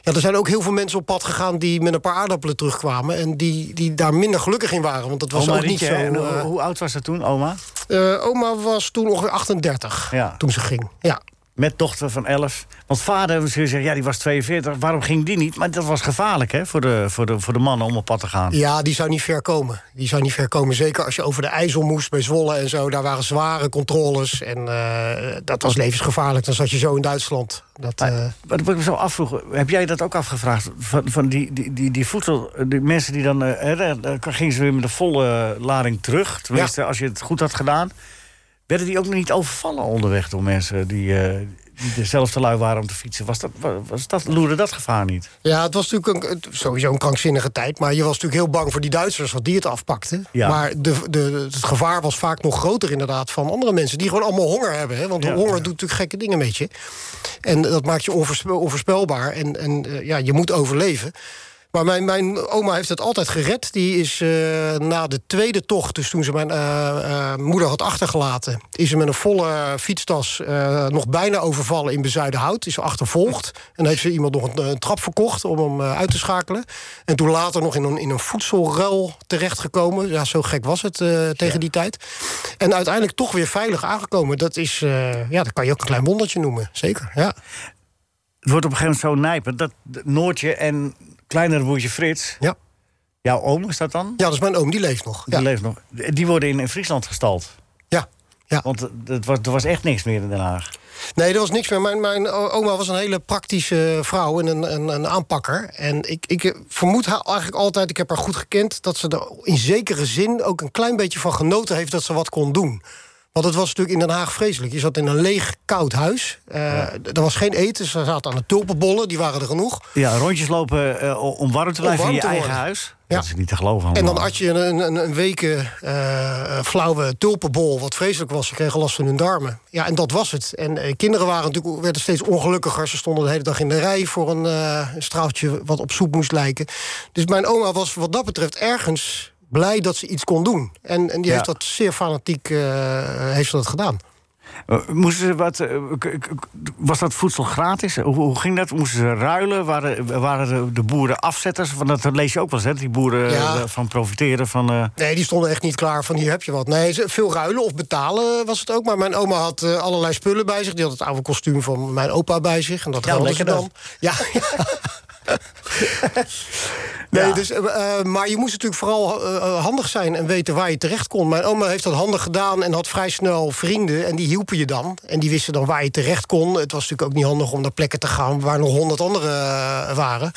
ja, er zijn ook heel veel mensen op pad gegaan die met een paar aardappelen terugkwamen. En die, die daar minder gelukkig in waren. Want dat was Oma ook niet Rietje, zo. en oh, hoe- eh, hoe oud was dat toen, oma? eh, oma was toen ongeveer 38 toen ze ging. Ja. Met dochter van 11. Want vader, misschien zeggen, ja, die was 42. Waarom ging die niet? Maar dat was gevaarlijk, hè, voor de, voor de, voor de mannen om op pad te gaan. Ja, die zou niet ver komen. Die zou niet ver komen. Zeker als je over de IJssel moest bij Zwolle en zo. Daar waren zware controles. En eh, dat was levensgevaarlijk. Dan zat je zo in Duitsland. Dat, eh, Wat ik me zo afvroeg, heb jij dat ook afgevraagd? Van, van die, die, die, die voedsel, die mensen die dan... eh, hè, daar- daar gingen ze weer met een volle lading terug. Tenminste, als je het goed had gedaan. Werden die ook niet overvallen onderweg door mensen die, eh, die dezelfde lui waren om te fietsen? Was dat, wa- was dat, loerde dat gevaar niet? Ja, het was natuurlijk een, het- sowieso een krankzinnige tijd. Maar je was natuurlijk heel bang voor die Duitsers, wat die het afpakten. Ja. Maar de, de, het gevaar was vaak nog groter inderdaad van andere mensen... die gewoon allemaal honger hebben. Hè? Want honger doet natuurlijk gekke dingen met je. En dat maakt je onvoorspe- onvoorspelbaar. En, en eh, ja, je moet overleven. Maar mijn, mijn oma heeft het altijd gered. Die is eh, na de tweede tocht, dus toen ze mijn eh, eh, moeder had achtergelaten... is ze met een volle fietstas eh, nog bijna overvallen in Bezuidenhout. Is ze achtervolgd. En heeft ze iemand nog een, eh, trap verkocht om hem eh, uit te schakelen. En toen later nog in een, in een voedselruil terechtgekomen. Ja, zo gek was het eh, tegen die tijd. En uiteindelijk toch weer veilig aangekomen. Dat is, eh, ja, dat kan je ook een klein wondertje noemen. Zeker, ja. Het wordt op een gegeven moment zo nijpend. Dat Noortje en kleinere broertje Frits... Ja. Jouw oom is dat dan? Ja, dat is mijn oom, die leeft nog. Die leeft nog. Die worden in, in Friesland gestald. Ja. ja. Want het was, er was echt niks meer in Den Haag. Nee, er was niks meer. Mijn, mijn o- oma was een hele praktische vrouw en een, een, een aanpakker. En ik, ik vermoed haar eigenlijk altijd, ik heb haar goed gekend... dat ze er in zekere zin ook een klein beetje van genoten heeft... dat ze wat kon doen. Want het was natuurlijk in Den Haag vreselijk. Je zat in een leeg, koud huis. Eh, d- Er was geen eten. Ze zaten aan de tulpenbollen, die waren er genoeg. Ja, rondjes lopen eh, om warm te blijven warm in je te eigen worden. huis. Ja. Dat is niet te geloven. En dan allemaal. at je een, een, een weken eh, flauwe tulpenbol, wat vreselijk was. Ze kregen last van hun darmen. Ja, en dat was het. En eh, kinderen waren natuurlijk, werden steeds ongelukkiger. Ze stonden de hele dag in de rij voor een, eh, een straaltje wat op soep moest lijken. Dus mijn oma was wat dat betreft ergens blij dat ze iets kon doen. En, en die Ja. heeft dat zeer fanatiek eh, heeft ze dat gedaan. Eh, Moesten ze wat, eh, k- k- k- was dat voedsel gratis? Hoe, hoe ging dat? Moesten ze ruilen? Waren, waren de, de boeren afzetters? Want dat lees je ook wel eens, hè? Die boeren Ja. eh, van profiteren van... eh, Nee, die stonden echt niet klaar van hier heb je wat. Nee, ze- veel ruilen of betalen was het ook. Maar mijn oma had eh, allerlei spullen bij zich. Die had het oude kostuum van mijn opa bij zich. En dat Ja, ruilde ze lekker dan. Ja. nee, Dus, eh, eh, maar je moest natuurlijk vooral eh, eh, handig zijn en weten waar je terecht kon. Mijn oma heeft dat handig gedaan en had vrij snel vrienden. En die hielpen je dan. En die wisten dan waar je terecht kon. Het was natuurlijk ook niet handig om naar plekken te gaan waar nog honderd anderen eh, waren.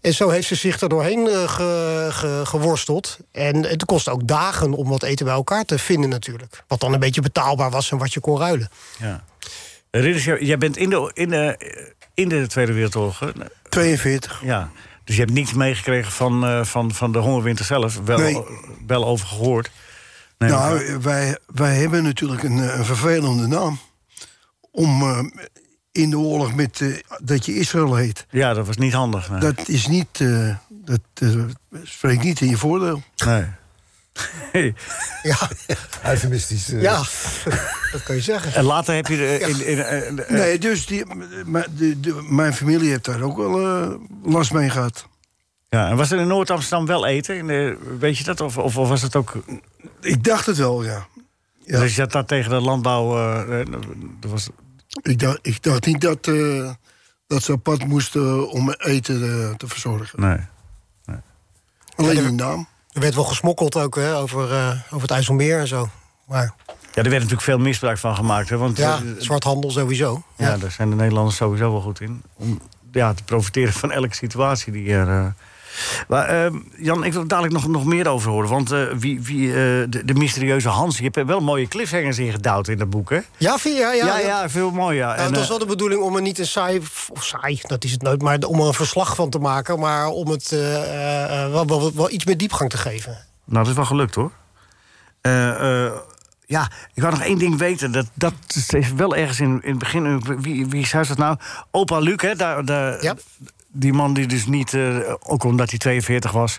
En zo heeft ze zich er doorheen eh, ge- ge- geworsteld. En het kostte ook dagen om wat eten bij elkaar te vinden natuurlijk. Wat dan een beetje betaalbaar was en wat je kon ruilen. ja. Ridders, jij- jij bent in de, in, de, in de Tweede Wereldoorlog. hè? 42. Ja. Dus je hebt niets meegekregen van, eh, van, van de hongerwinter zelf. Wel, Nee. wel over gehoord. Nee, maar- nou, wij, wij hebben natuurlijk een, eh, een vervelende naam. Om eh, in de oorlog met eh, dat je Israël heet. ja, dat was niet handig. nee. Dat is niet. eh, dat eh, spreekt niet in je voordeel. Nee. Ja, Eufemistisch. eh. ja dat kan je zeggen. En later heb je... eh, in, in, eh, eh, Nee, dus die, maar de, de- mijn familie heeft daar ook wel eh, last mee gehad. Ja, en was er in Noord-Amsterdam wel eten? In de- weet je dat? Of, of, of was het ook... Ik dacht het wel, ja. Ja. Dus je zat daar tegen de landbouw... eh, eh, dat was, Ik dacht, ik dacht niet dat, eh, dat ze apart moesten om eten eh, te verzorgen. nee. Alleen die naam. Er werd wel gesmokkeld ook hè, over, eh, over het IJsselmeer en zo. Maar Ja, er werd natuurlijk veel misbruik van gemaakt. Hè, want ja, eh, zwarthandel sowieso. Ja, daar zijn de Nederlanders sowieso wel goed in. Om ja, te profiteren van elke situatie die er. eh, Maar, eh, Jan, ik wil er dadelijk nog, nog meer over horen. Want eh, wie, wie, eh, de, de mysterieuze Hans, je hebt er wel mooie cliffhangers in gedouwd in dat boek, hè? Ja, vier jaar. Ja, ja, veel mooi, ja. Nou, En, het was eh, wel de bedoeling om er niet een saai, of saai, dat is het nooit, maar om er een verslag van te maken, maar om het eh, eh, wel, wel, wel iets meer diepgang te geven. Nou, dat is wel gelukt hoor. Eh, eh, ja, ik wou nog één ding weten. Dat, dat is wel ergens in, in het begin. Wie, wie zei dat nou? Opa Luc, hè? Daar, daar, Die man die dus niet, eh, ook omdat hij 42 was,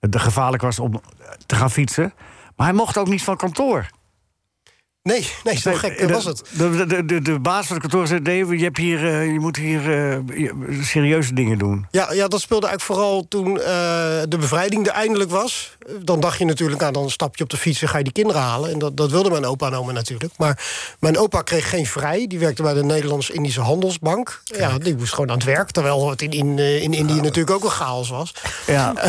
eh, de gevaarlijk was om eh, te gaan fietsen. Maar hij mocht ook niet van kantoor. eh, Nee, nee, zo gek dat de- was het. De, de, de, de baas van het kantoor zei: nee, je, hebt hier, eh, je moet hier eh, je- serieuze dingen doen. Ja, ja, dat speelde eigenlijk vooral toen eh, de bevrijding er eindelijk was. Dan dacht je natuurlijk, nou, dan stap je op de fiets en ga je die kinderen halen. En dat, dat wilde mijn opa en oma natuurlijk. Maar mijn opa kreeg geen vrij. Die werkte bij de Nederlands-Indische Handelsbank. Ja, die moest gewoon aan het werk. Terwijl het in, in, eh, in Indië natuurlijk ook een chaos was.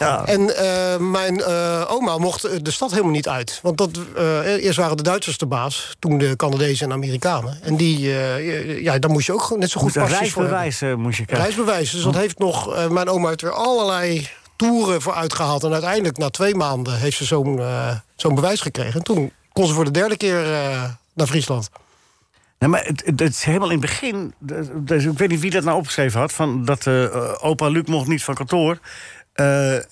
Ja. En eh, mijn eh, oma mocht eh, de stad helemaal niet uit. Want dat, eh, eerst waren de Duitsers de baas, toen de Canadezen en Amerikanen. En die, eh, ja, daar moest je ook gewoon net zo goed Moet een pasjes voor hebben. reisbewijs eh, moest je krijgen. Reisbewijs. Dus dat heeft nog. eh, mijn oma heeft er allerlei toeren voor uitgehaald. En uiteindelijk, na twee maanden, heeft ze zo'n eh, zo'n bewijs gekregen. En toen kon ze voor de derde keer eh, naar Friesland. Nee, maar het, het, het is helemaal in het begin. de- de- ik weet niet wie dat nou opgeschreven had. Van dat eh, opa Luc mocht niet van kantoor. Eh, en,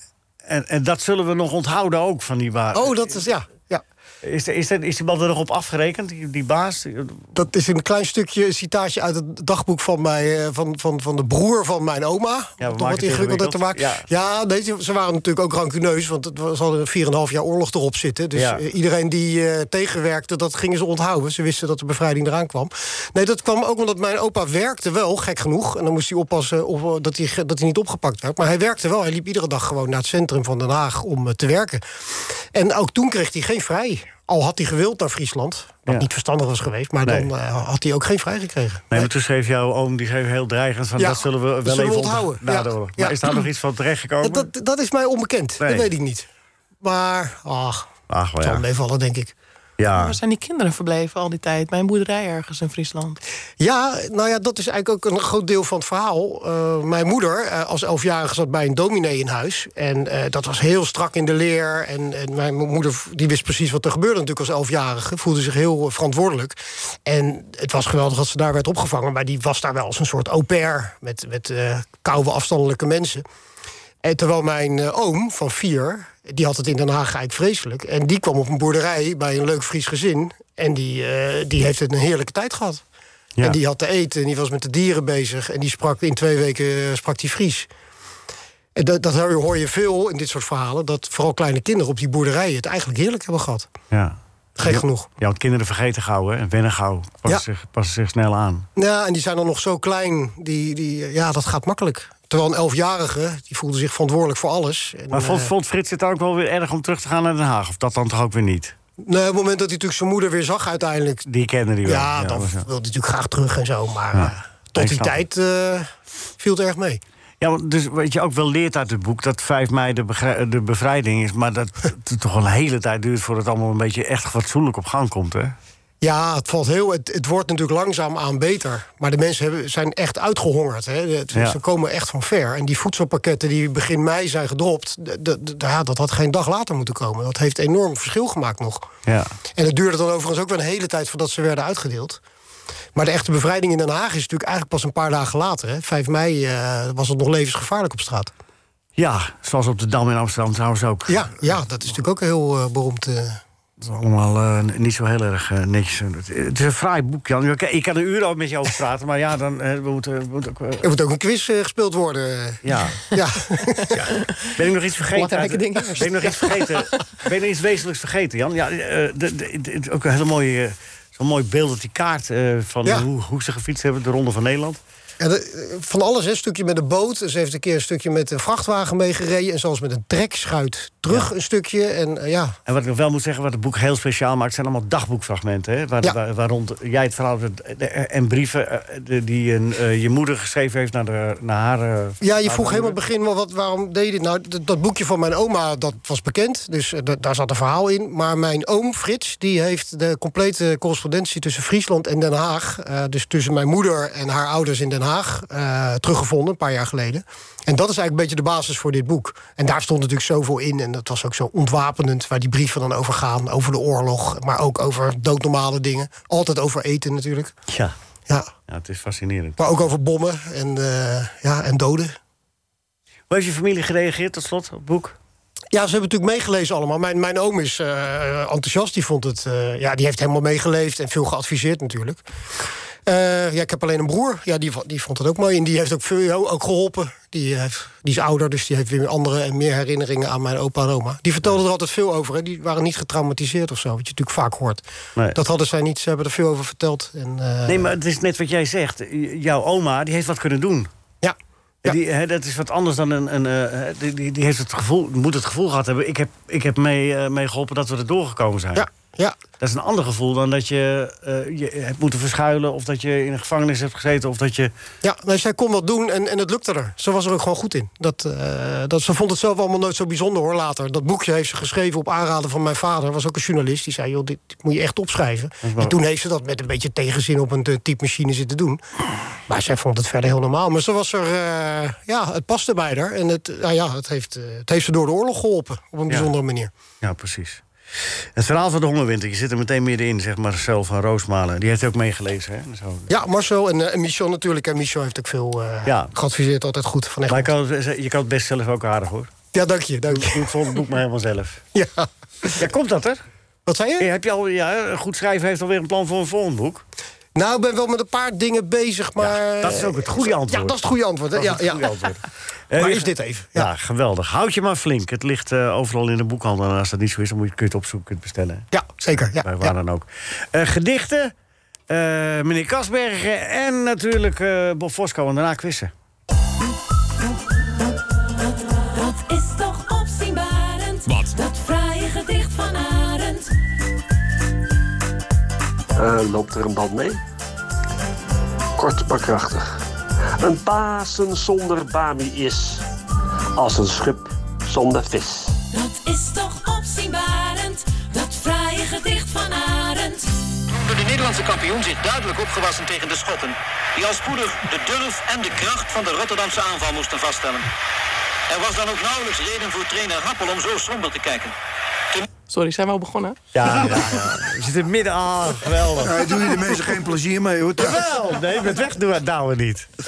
en dat zullen we nog onthouden ook van die waar. Oh, dat is. Ja. ja. Is, is, is, is die man er nog op afgerekend, die, die baas? Dat is een klein stukje een citaatje uit het dagboek van, mij, eh, van, van, van de broer van mijn oma. we Om maken wat het ingewikkelder te maken. ingewikkeld. Ja, nee, ze- ze waren natuurlijk ook rancuneus, want het was, ze hadden 4,5 jaar oorlog erop zitten. Dus Ja. eh, iedereen die eh, tegenwerkte, dat gingen ze onthouden. Ze wisten dat de bevrijding eraan kwam. Nee, dat kwam ook omdat mijn opa werkte wel, gek genoeg. En dan moest hij oppassen of, eh, dat, hij, ge- dat hij niet opgepakt werd. Maar hij werkte wel. Hij liep iedere dag gewoon naar het centrum van Den Haag om eh, te werken. En ook toen kreeg hij geen vrij. Al had hij gewild naar Friesland, wat Ja. niet verstandig was geweest... maar Nee. dan eh, had hij ook geen vrij gekregen. Nee, maar toen schreef jouw oom, die schreef heel dreigend... van Ja, dat zullen we wel dat zullen we even ont- onthouden. na Ja, de oorlog. ja. Maar is daar nog iets van terechtgekomen? Dat, dat, dat is mij onbekend. Nee. Dat weet ik niet. Maar, ach, Ach, het zal wel ja. meevallen, denk ik. ja. Waar zijn die kinderen verbleven al die tijd? Bij een boerderij ergens in Friesland. Ja, nou ja, dat is eigenlijk ook een groot deel van het verhaal. Eh, mijn moeder, eh, als elfjarige, zat bij een dominee in huis. En eh, dat was heel strak in de leer. En, en mijn moeder die wist precies wat er gebeurde natuurlijk als elfjarige. Voelde zich heel eh, verantwoordelijk. En het was geweldig dat ze daar werd opgevangen. Maar die was daar wel als een soort au pair. Met, met eh, koude afstandelijke mensen. En terwijl mijn eh, oom van vier, die had het in Den Haag eigenlijk vreselijk. En die kwam op een boerderij bij een leuk Fries gezin. En die, eh, die heeft het een heerlijke tijd gehad. Ja. En die had te eten en die was met de dieren bezig. En die sprak in twee weken eh, sprak die Fries. En dat, dat hoor je- hoor je veel in dit soort verhalen. Dat vooral kleine kinderen op die boerderijen het eigenlijk heerlijk hebben gehad. ja. Gek Ja, genoeg. Ja, want kinderen vergeten gauw, hè. En wennen gauw. Passen, Ja. zich, passen zich snel aan. Ja, en die zijn dan nog zo klein. Die, die, ja, dat gaat makkelijk. Terwijl een elfjarige, die voelde zich verantwoordelijk voor alles. En, Maar vond, eh, vond Frits het ook wel weer erg om terug te gaan naar Den Haag? Of dat dan toch ook weer niet? nou, op het moment dat hij natuurlijk zijn moeder weer zag uiteindelijk... Die kennen die wel. Ja, dan was- wilde hij natuurlijk graag terug en zo. Maar eh, ik tot die snap tijd eh, viel het erg mee. Ja, want dus wat je ook wel leert uit het boek... dat 5 mei de, begrij- de bevrijding is... maar dat het toch wel een hele tijd duurt... voordat het allemaal een beetje echt fatsoenlijk op gang komt, hè? Ja, het valt heel. Het, het wordt natuurlijk langzaam aan beter. Maar de mensen hebben, zijn echt uitgehongerd. Hè. De- Ja. Ze komen echt van ver. En die voedselpakketten die begin mei zijn gedropt, d- d- d- ja, dat had geen dag later moeten komen. Dat heeft enorm verschil gemaakt nog. Ja. En het duurde dan overigens ook wel een hele tijd voordat ze werden uitgedeeld. Maar de echte bevrijding in Den Haag is natuurlijk eigenlijk pas een paar dagen later. Hè. 5 mei eh, was het nog levensgevaarlijk op straat. Ja, zoals op de Dam in Amsterdam trouwens ook. Ja, ja dat is natuurlijk ook een heel eh, beroemd. eh, Dat is allemaal eh, n- niet zo heel erg eh, netjes. Het, het is een fraai boek, Jan. Ik, ik kan er uren ook met je over praten, maar ja, dan eh, we moeten, we moeten ook... eh, er moet ook een quiz eh, gespeeld worden. ja. Ja. Ben ik nog iets vergeten? Belangrijke uit- dingen ben ik nog iets vergeten? ben ik nog iets wezenlijks vergeten, Jan? Ja, eh, de- de- de- ook een hele mooie... eh, Zo'n mooi beeld op die kaart eh, van Ja. hoe, hoe ze gefietst hebben, de Ronde van Nederland. Ja, de- eh, van alles, hè. een stukje met een boot. Ze heeft een keer een stukje met een vrachtwagen meegereden. En zelfs met een trekschuit terug een stukje. En eh, ja, En wat ik nog wel moet zeggen, wat het boek heel speciaal maakt, zijn allemaal dagboekfragmenten. Hè? Waar, Ja. waar- waar rond jij het verhaal hebt, eh, de- en brieven eh, de- die een, eh, je moeder geschreven heeft naar, de, naar haar. eh, Ja, haar je vroeg moeder. helemaal in het begin, maar wat, waarom deed je dit nou? Dat, dat boekje van mijn oma, dat was bekend, dus eh, da- daar zat een verhaal in. Maar mijn oom Frits, die heeft de complete correspondentie tussen Friesland en Den Haag... eh, dus tussen mijn moeder en haar ouders in Den Haag, eh, teruggevonden, een paar jaar geleden. En dat is eigenlijk een beetje de basis voor dit boek. En daar stond natuurlijk zoveel in en dat was ook zo ontwapenend... waar die brieven dan over gaan, over de oorlog, maar ook over doodnormale dingen. Altijd over eten natuurlijk, Ja. Ja. ja, het is fascinerend. maar ook over bommen en, eh, ja, en doden. Hoe heeft je familie gereageerd tot slot op het boek? Ja, ze hebben natuurlijk meegelezen allemaal. Mijn, mijn oom is eh, enthousiast, die vond het... eh, ja, die heeft helemaal meegeleefd en veel geadviseerd natuurlijk. Eh, ja, ik heb alleen een broer, ja, die, vo- die vond het ook mooi. En die heeft ook, veel, ook geholpen. Die, heeft, die is ouder, dus die heeft weer andere en meer herinneringen aan mijn opa en oma. Die vertelden er altijd veel over, hè. die waren niet getraumatiseerd of zo. Wat je natuurlijk vaak hoort. Nee. Dat hadden zij niet, ze hebben er veel over verteld. En, eh, Nee, maar het is net wat jij zegt. J- Jouw oma, die heeft wat kunnen doen. Ja. Die, hè, dat is wat anders dan een... een eh, die, die, die heeft het gevoel, moet het gevoel gehad hebben... ik heb, ik heb mee, eh, mee geholpen dat we er doorgekomen zijn. Ja, ja. Dat is een ander gevoel dan dat je eh, je hebt moeten verschuilen... of dat je in een gevangenis hebt gezeten of dat je... Ja, nee, zij kon wat doen en, en het lukte er. Ze was er ook gewoon goed in. Dat, eh, dat, ze vond het zelf allemaal nooit zo bijzonder hoor, later. Dat boekje heeft ze geschreven op aanraden van mijn vader. was ook een journalist. Die zei, joh, dit moet je echt opschrijven. wel- En toen heeft ze dat met een beetje tegenzin op een eh, typemachine zitten doen. Maar zij vond het verder heel normaal. Maar ze was er, eh, ja, het paste bij haar. En het, nou ja, het, heeft, eh, het heeft ze door de oorlog geholpen. Op een bijzondere manier. Ja, precies. Het verhaal van de hongerwinter, je zit er meteen middenin, zeg maar, Marcel van Roosmalen. Die heeft ook meegelezen, hè? en Zo. Ja, Marcel en, eh, en Michel natuurlijk. En Michel heeft ook veel eh, Ja. geadviseerd. Altijd goed. Van echt. Maar je kan, het, je kan het best zelf ook aardig, hoor. Ja, dank je, dank je. Ik vond het boek maar helemaal zelf. Ja. Ja, komt dat er? Wat zei je? Hey, heb je al, ja, een goed schrijven heeft alweer een plan voor een volgend boek. Nou, ik ben wel met een paar dingen bezig, maar... dat is ook het goede antwoord. Ja, dat is het goede antwoord. Hè? Dat is Ja, het ja. goede antwoord. Eh, Maar je- is dit even? Ja. geweldig. Houd je maar flink. Het ligt eh, overal in de boekhandel. En als dat niet zo is, dan moet je, kun je het opzoeken, kunt bestellen. Ja, zeker. Ja, Bij waar ja. dan ook. Eh, gedichten, eh, meneer Kasbergen en natuurlijk eh, Bob Fosco. En daarna quizzen. Dat is toch opzienbarend. Wat? Dat fraaie gedicht van Arend. Eh, loopt er een band mee? Kort maar krachtig. Een Pasen zonder Bami is als een schub zonder vis. Dat is toch opzienbarend. Dat fraaie gedicht van Arend. De Nederlandse kampioen zich duidelijk opgewassen tegen de Schotten. Die al spoedig de durf en de kracht van de Rotterdamse aanval moesten vaststellen. Er was dan ook nauwelijks reden voor trainer Happel om zo somber te kijken. Sorry, zijn we al begonnen? Ja, ja, Je zit er midden aan. Geweldig. Ja, doe je de mensen geen plezier mee, hoor. Jawel, nee, met weg doen we het nou weer niet. Ik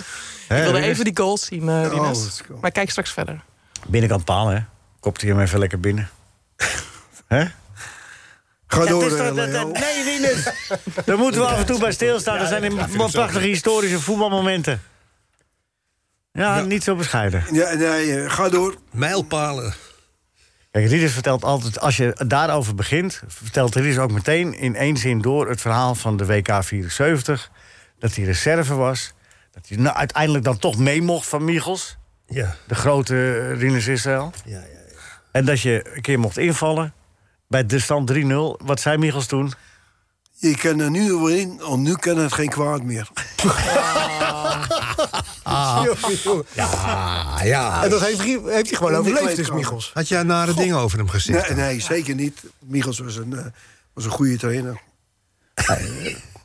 wilde Hè, Oh, even die goals zien, eh Rinus. dat is Maar kijk straks verder. Binnenkant paal, hè? Kopt hij hem even lekker binnen. Hè? Ga Ja, door, het is toch- eh, dat- Leo. dat- Nee, Rinus. Daar moeten we af en toe bij stilstaan. Er zijn helemaal prachtige historische voetbalmomenten. Ja, niet zo bescheiden. Ja, nee, eh, ga door. Mijlpalen. Kijk, Rinus vertelt altijd, als je daarover begint... vertelt Rinus ook meteen in één zin door het verhaal van de WK 74. Dat hij reserve was. Dat hij nou, uiteindelijk dan toch mee mocht van Michels. Ja. De grote Rinus Israël. Ja, ja, En dat je een keer mocht invallen bij de stand 3-0. Wat zei Michels toen? Je kan er nu wel in, want nu kan het geen kwaad meer. Ah, ja. En dat heeft, heeft hij gewoon overleefd, dus Michels. Had jij nare dingen over hem gezegd? Nee, nee, zeker niet. Michels was een, eh, was een goede trainer.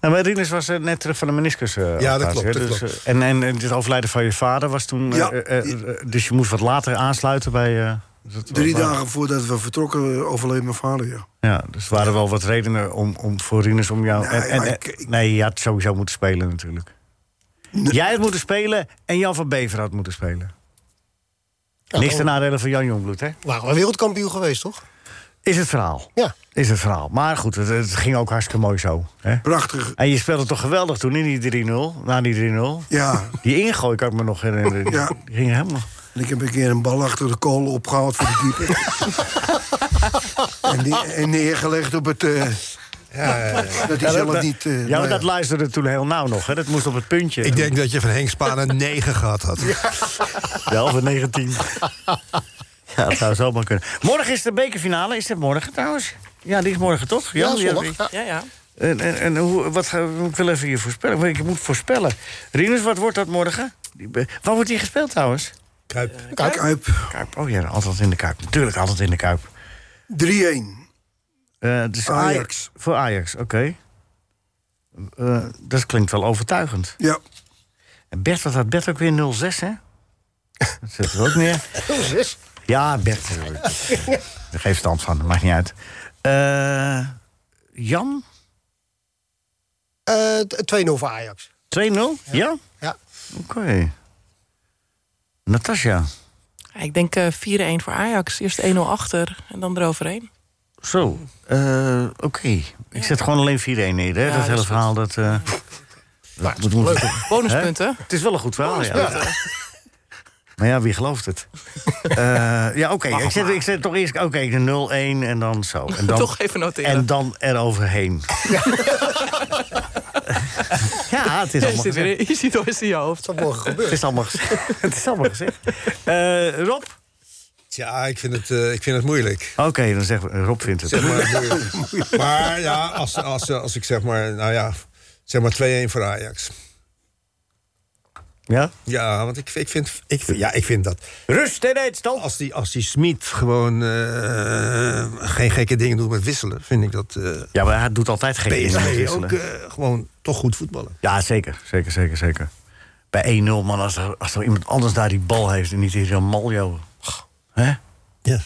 Nou, maar Rinus was eh, net terug van de meniscus. eh, dat operatie, klopt, hè? dat Dus, klopt. eh, en, en en het overlijden van je vader was toen... eh, Ja. eh, eh, eh, dus je moest wat later aansluiten bij... eh, dus dat- Drie wa- dagen voordat we vertrokken eh, overleed mijn vader, ja. Ja, dus er waren wel wat redenen om, om voor Rinus om jou... Nee, en, en- maar en- ik- ik- nee, je had sowieso moeten spelen natuurlijk. Jij had moeten spelen en Jan van Bever had moeten spelen. Niks ten dan nadele van Jan Jongbloed, hè? waren we wereldkampioen geweest, toch? Is het verhaal. Ja. Is het verhaal. Maar goed, het, het ging ook hartstikke mooi zo. Hè? Prachtig. En je speelde toch geweldig toen in die 3-0, na die 3-0. Ja, Die ingooi kan ik me nog herinneren. Die, Ja. die ging helemaal... en ik heb een keer een bal achter de kolen opgehaald voor de keeper. en, die- en neergelegd op het... eh, Dat hij Ja, zelf dat- niet... ja, eh, maar nou dat luisterde toen heel nauw nog. Hè? Dat moest op het puntje. Ik denk dat je van Henk Spaan een 9 gehad had. Wel van 19. Ja, dat zou zomaar kunnen. Morgen is de bekerfinale. Is dat morgen trouwens? Ja, die is morgen toch? Ja, die heb zondag, ik. Ja, ja. En, en, en hoe, wat ga, ik wil even hier voorspellen. want Ik moet voorspellen. Rinus, wat wordt dat morgen? Die be- Waar wordt die gespeeld trouwens? Kuip. Kuip. Kuip. Oh ja, altijd in de Kuip. Natuurlijk altijd in de Kuip. 3-1. Eh, dus Ajax. Ajax. Voor Ajax, oké. Eh, dat klinkt wel overtuigend. Ja. En Bert, wat had Bert ook weer 06, hè? Dat zit er ook neer. 06? Ja, Bert. eh, Daar geef stand van, dat maakt niet uit. Eh, Jan? Eh, t- 2-0 voor Ajax. 2-0? Ja? Ja. Ja. Oké. Natasja? Ik denk eh, 4-1 voor Ajax. Eerst 1-0 achter en dan eroverheen. Zo, eh, oké. Ik zet gewoon alleen 4-1 neer, hè? Ja, dat dat hele is verhaal, dat... eh dat moet- moet- hè? Bonuspunten. Het is wel een goed verhaal, Oh, ja. Bonuspunten. Maar ja, wie gelooft het? Eh, ja, oké. Ik, zet, ik zet toch eerst oké, de 0-1 en dan zo. En dan, Toch even noteren. En dan eroverheen. ja, het Hij is allemaal zit weer gezegd. in- Je ziet al eens in je hoofd. Dat morgen Het is allemaal gezegd. het is allemaal gezegd. Eh, Rob? Ja, ik vind het, eh, ik vind het moeilijk. Oké, dan zeggen we, Rob vindt het. Zeg maar, moeilijk. maar ja, als, als, als ik zeg maar, nou ja, zeg maar 2-1 voor Ajax. Ja? Ja, want ik, ik, vind, ik, vind- ja, ik vind dat. Rust en eindstand. Als die, als die Smit gewoon eh, geen gekke dingen doet met wisselen, vind ik dat. eh ja, maar hij doet altijd geen dingen met wisselen. ook eh, gewoon toch goed voetballen. Ja, zeker. Zeker, zeker, zeker. Bij 1-0, man, als er, als er iemand anders daar die bal heeft... en niet heel mal, joh. Hè? Ja.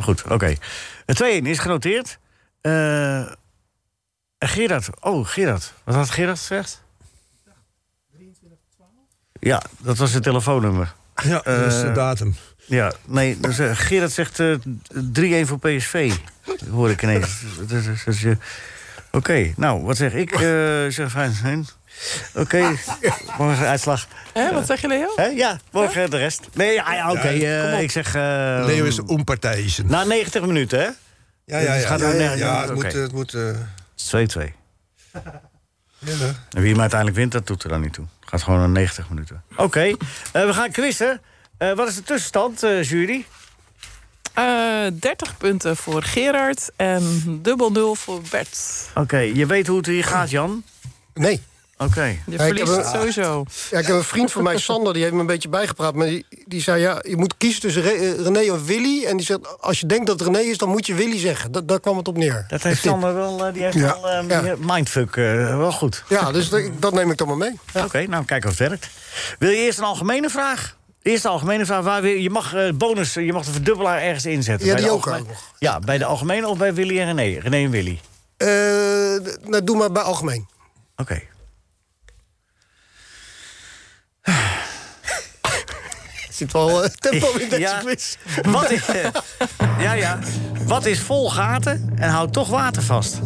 Goed, oké. Eh, 2-1 is genoteerd. Eh, Gerard, oh, Gerard. Wat had Gerard gezegd? Ja, dat was het telefoonnummer. Ja, dat is de Eh, datum. Ja, nee, dus, eh, Gerard zegt eh, 3-1 voor PSV. Hoor ik ineens. Dus, dus, dus, eh, Oké, nou, wat zeg ik? Eh, Ik zeg fijn. hè? Oké, Ah. morgen uitslag. Eh, Hè, wat zeg je, Leo? Hè? Ja, morgen de rest. Nee, ja, ja, oké, Ja, eh, kom op. ik zeg... Leo is onpartijzen. Na 90 minuten, hè? Dus Ja, ja, Het ja. gaat ja, naar ja, 90 ja, minuten, het moet. oké. eh, Het moet eh, Het is 2-2. ja. En wie hem uiteindelijk wint, dat doet er dan niet toe. Het gaat gewoon naar 90 minuten. Oké, eh, we gaan quizzen. Eh, wat is de tussenstand, eh, jury? Eh, 30 punten voor Gerard en dubbel 0 voor Bert. Oké, je weet hoe het hier gaat, Jan? Nee. Oké. Je Ja, ik verliest heb het een- sowieso. Ja, ik heb een vriend van mij, Sander, die heeft me een beetje bijgepraat. Maar die, die zei, ja, je moet kiezen tussen Re- eh, René of Willy. En die zegt, als je denkt dat het René is, dan moet je Willy zeggen. Da- daar kwam het op neer. Dat heeft Sander wel, eh, die heeft Ja. wel eh, mindfuck, eh, wel goed. Ja, dus dat, dat neem ik dan maar mee. Oké, nou kijken of het werkt. Wil je eerst een algemene vraag? Eerst een algemene vraag. Waar wil, je mag eh, bonus, eh, je mag de verdubbelaar ergens inzetten. Ja, Bij die de ook algemene- ook nog. Ja, bij de algemene of bij Willy en René? René en Willy. Eh, d- nou, doe maar bij algemeen. Oké. Er zit wel eh, tempo in deze Ja. quiz. Wat is, eh, ja, ja. Wat is vol gaten en houdt toch water vast?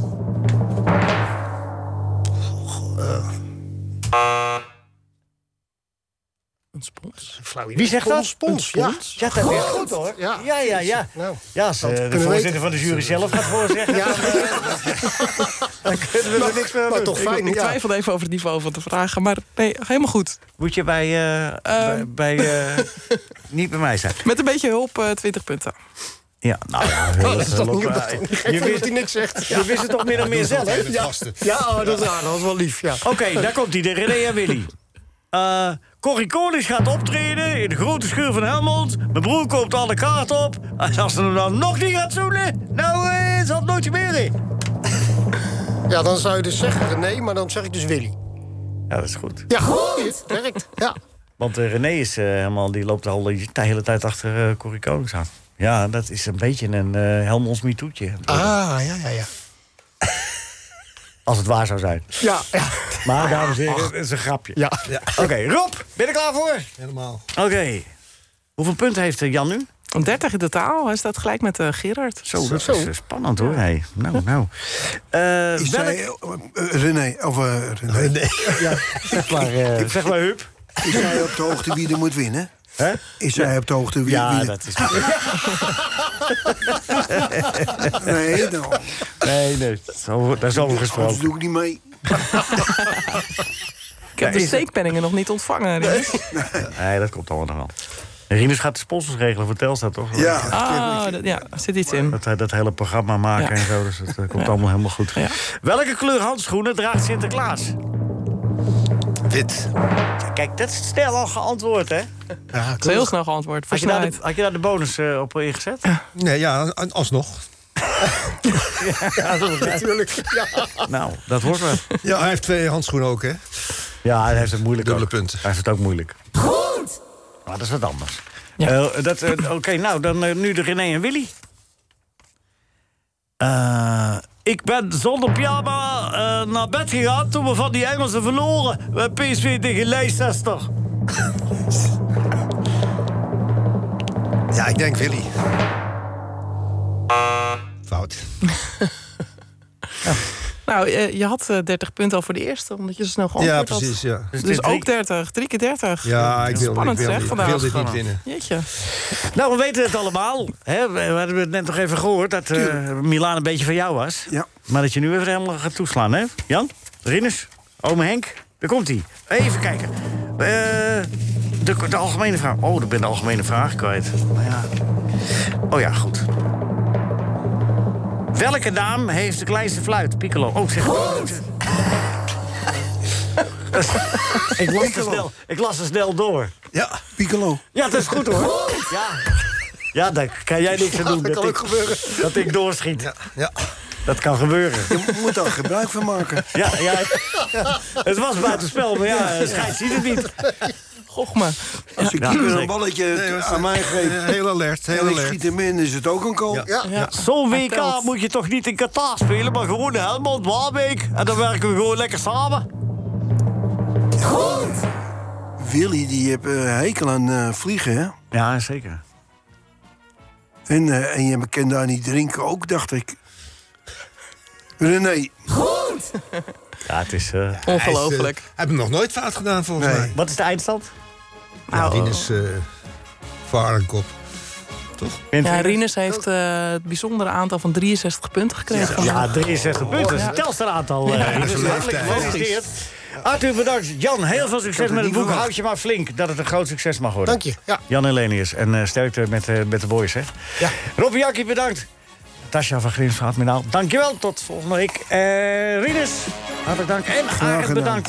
Een spons. Wie zegt dat? Spons, ja. Ja, dat is goed hoor. Ja. Ja, ja, ja. Nou, Ja, als eh, Dat de kunnen we weten. voorzitter van de jury zelf gaat voorzeggen... Ja. Dan, eh, dan kunnen we er niks meer aan maar doen. toch fijn. Ik Ja. twijfelde even over het niveau van de vragen, maar nee, helemaal goed. Ehm. Moet je bij... eh, bij, bij, eh, niet bij mij zijn. Met een beetje hulp eh 20 punten. Oh, Ja, nou ja. Dat is toch niet, eh, dat is toch niet je, gek van dat wist, hij niks zegt. je wist het toch min of meer zelf? hè? Ja. Gasten. Ja, oh, dat is raar. Dat was wel lief, ja. Oké, daar komt hij, de René en Willy. Eh Corrie Konings gaat optreden in de grote schuur van Helmond. Mijn broer koopt alle kaarten op. En als ze hem dan nog niet gaat zoenen, nou eh, zal het nooit meer in. Ja, dan zou je dus zeggen René, maar dan zeg ik dus Willy. Ja, dat is goed. Ja, goed. Het werkt. Ja. Want eh, René is eh, helemaal, die loopt al de hele tijd achter eh Corrie Konings aan. Ja, dat is een beetje een eh Helmonds mitoetje. Ah, ja, ja, ja. Als het waar zou zijn. Ja, ja. Maar dames en heren, het is een grapje. ja. Oké, Rob, ben je er klaar voor? Helemaal. Oké. Hoeveel punten heeft eh, Jan nu? 30 in totaal, hij staat gelijk met eh, Gerard. Zo, dat Zo. is eh, spannend hoor. Hey. Nou, nou. Eh, Is welk- zij, eh, René, of eh, René, Zeg maar, Zeg maar Huub. is zij eh, op de hoogte wie er moet winnen? Hè? Is zij op de hoogte wie, wie Ja, er- dat is... Nee, nou, Nee, nee. Zo, daar is over anders gesproken. doe ik niet mee. Ik heb de steekpenningen nog niet ontvangen. Rinus. Nee, dat komt allemaal nog wel. En Rinus gaat de sponsors regelen voor Telstra, toch? Ja. Ah, dat- ja, er zit iets in. Dat, hij dat hele programma maken en zo, dus dat eh, komt allemaal helemaal goed. Welke kleur handschoenen draagt Sinterklaas? Wit. Kijk, dat is snel al geantwoord, hè? Dat is heel snel geantwoord. Had je, daar de, versneld. had je daar de bonus eh, op ingezet? Nee, ja, a- alsnog. Ja, natuurlijk. Nou, dat wordt wat. Ja, hij heeft twee handschoenen ook, hè? Ja, hij heeft het moeilijk Dubbele punten. Hij heeft het ook moeilijk. Goed! Maar dat is wat anders. Eh, dat, eh, Oké, nou, dan eh, nu de René en Willy. Eh, ik ben zonder pyjama eh, naar bed gegaan toen we van die Engelsen verloren. Bij PSV tegen Leicester. Ja, ik denk Willy. Fout. Nou, eh, je had eh, 30 punten al voor de eerste, omdat je zo snel geantwoord Ja, precies, had. ja. Dus Dus, dit drie- ook 30, drie keer 30. Ja, ik wil- Spannend, ik zeg, wil niet- ik vandaag. wil dit niet winnen. Jeetje. Nou, we weten het allemaal. Hè? We, we hebben het net nog even gehoord dat eh, Milaan een beetje van jou was. Maar dat je nu even helemaal gaat toeslaan, hè? Jan, Rinus, ome Henk, daar komt hij. Even kijken. Eh, de, de algemene vraag. Oh, ik ben de algemene vraag kwijt. Maar ja. Oh ja, goed. Welke naam heeft de kleinste fluit? Piccolo. Oh, zeg ik, las er snel, ik las er snel door. Ja, Piccolo. Ja, dat is goed hoor. Ja. Ja, daar kan jij niks aan Ja, doen. dat kan ik, ook gebeuren. Dat ik doorschiet. Ja, ja. Dat kan gebeuren. Je moet daar gebruik van maken. Ja, ja, het was buitenspel, maar ja, de scheids ziet het niet. Goch me. Als ik Ja, keeper zeker. een balletje Nee, dat is- aan mij geef... eh, heel alert, heel en ik alert. schiet hem in, is het ook een goal. Ja. Ja. Zo'n WK moet je toch niet in Qatar spelen, maar gewoon in Helmond, Waalwijk. En dan werken we gewoon lekker samen. Willy, die heeft eh, hekel aan eh, vliegen, hè? Ja, zeker. En, eh, en je kan daar niet drinken ook, dacht ik. René. Goed! Ja, het is... eh, Hij is, eh, heb hem nog nooit fout gedaan, volgens mij. Wat is de eindstand? Nou, Ja, die is eh varenkop. Toch? Ja, Rinus heeft eh, het bijzondere aantal van 63 punten gekregen. Ja, 63 punten. Dat is het telstar aantal. eh, Ja, Rinus. dat is Hartelijk leeftijd. gefeliciteerd. Arthur, bedankt. Jan, heel veel had succes het met het niet boek. verwacht. Houd je maar flink dat het een groot succes mag worden. Dank je, ja. Jan Helenius. En eh, sterkte met, eh, met de boys, hè? Ja. Rob Jackie, bedankt. Tasja van Grins van Admiraal, dankjewel. Tot volgende week. Eh Rinus, hartelijk dank. En Arend, gedaan. bedankt.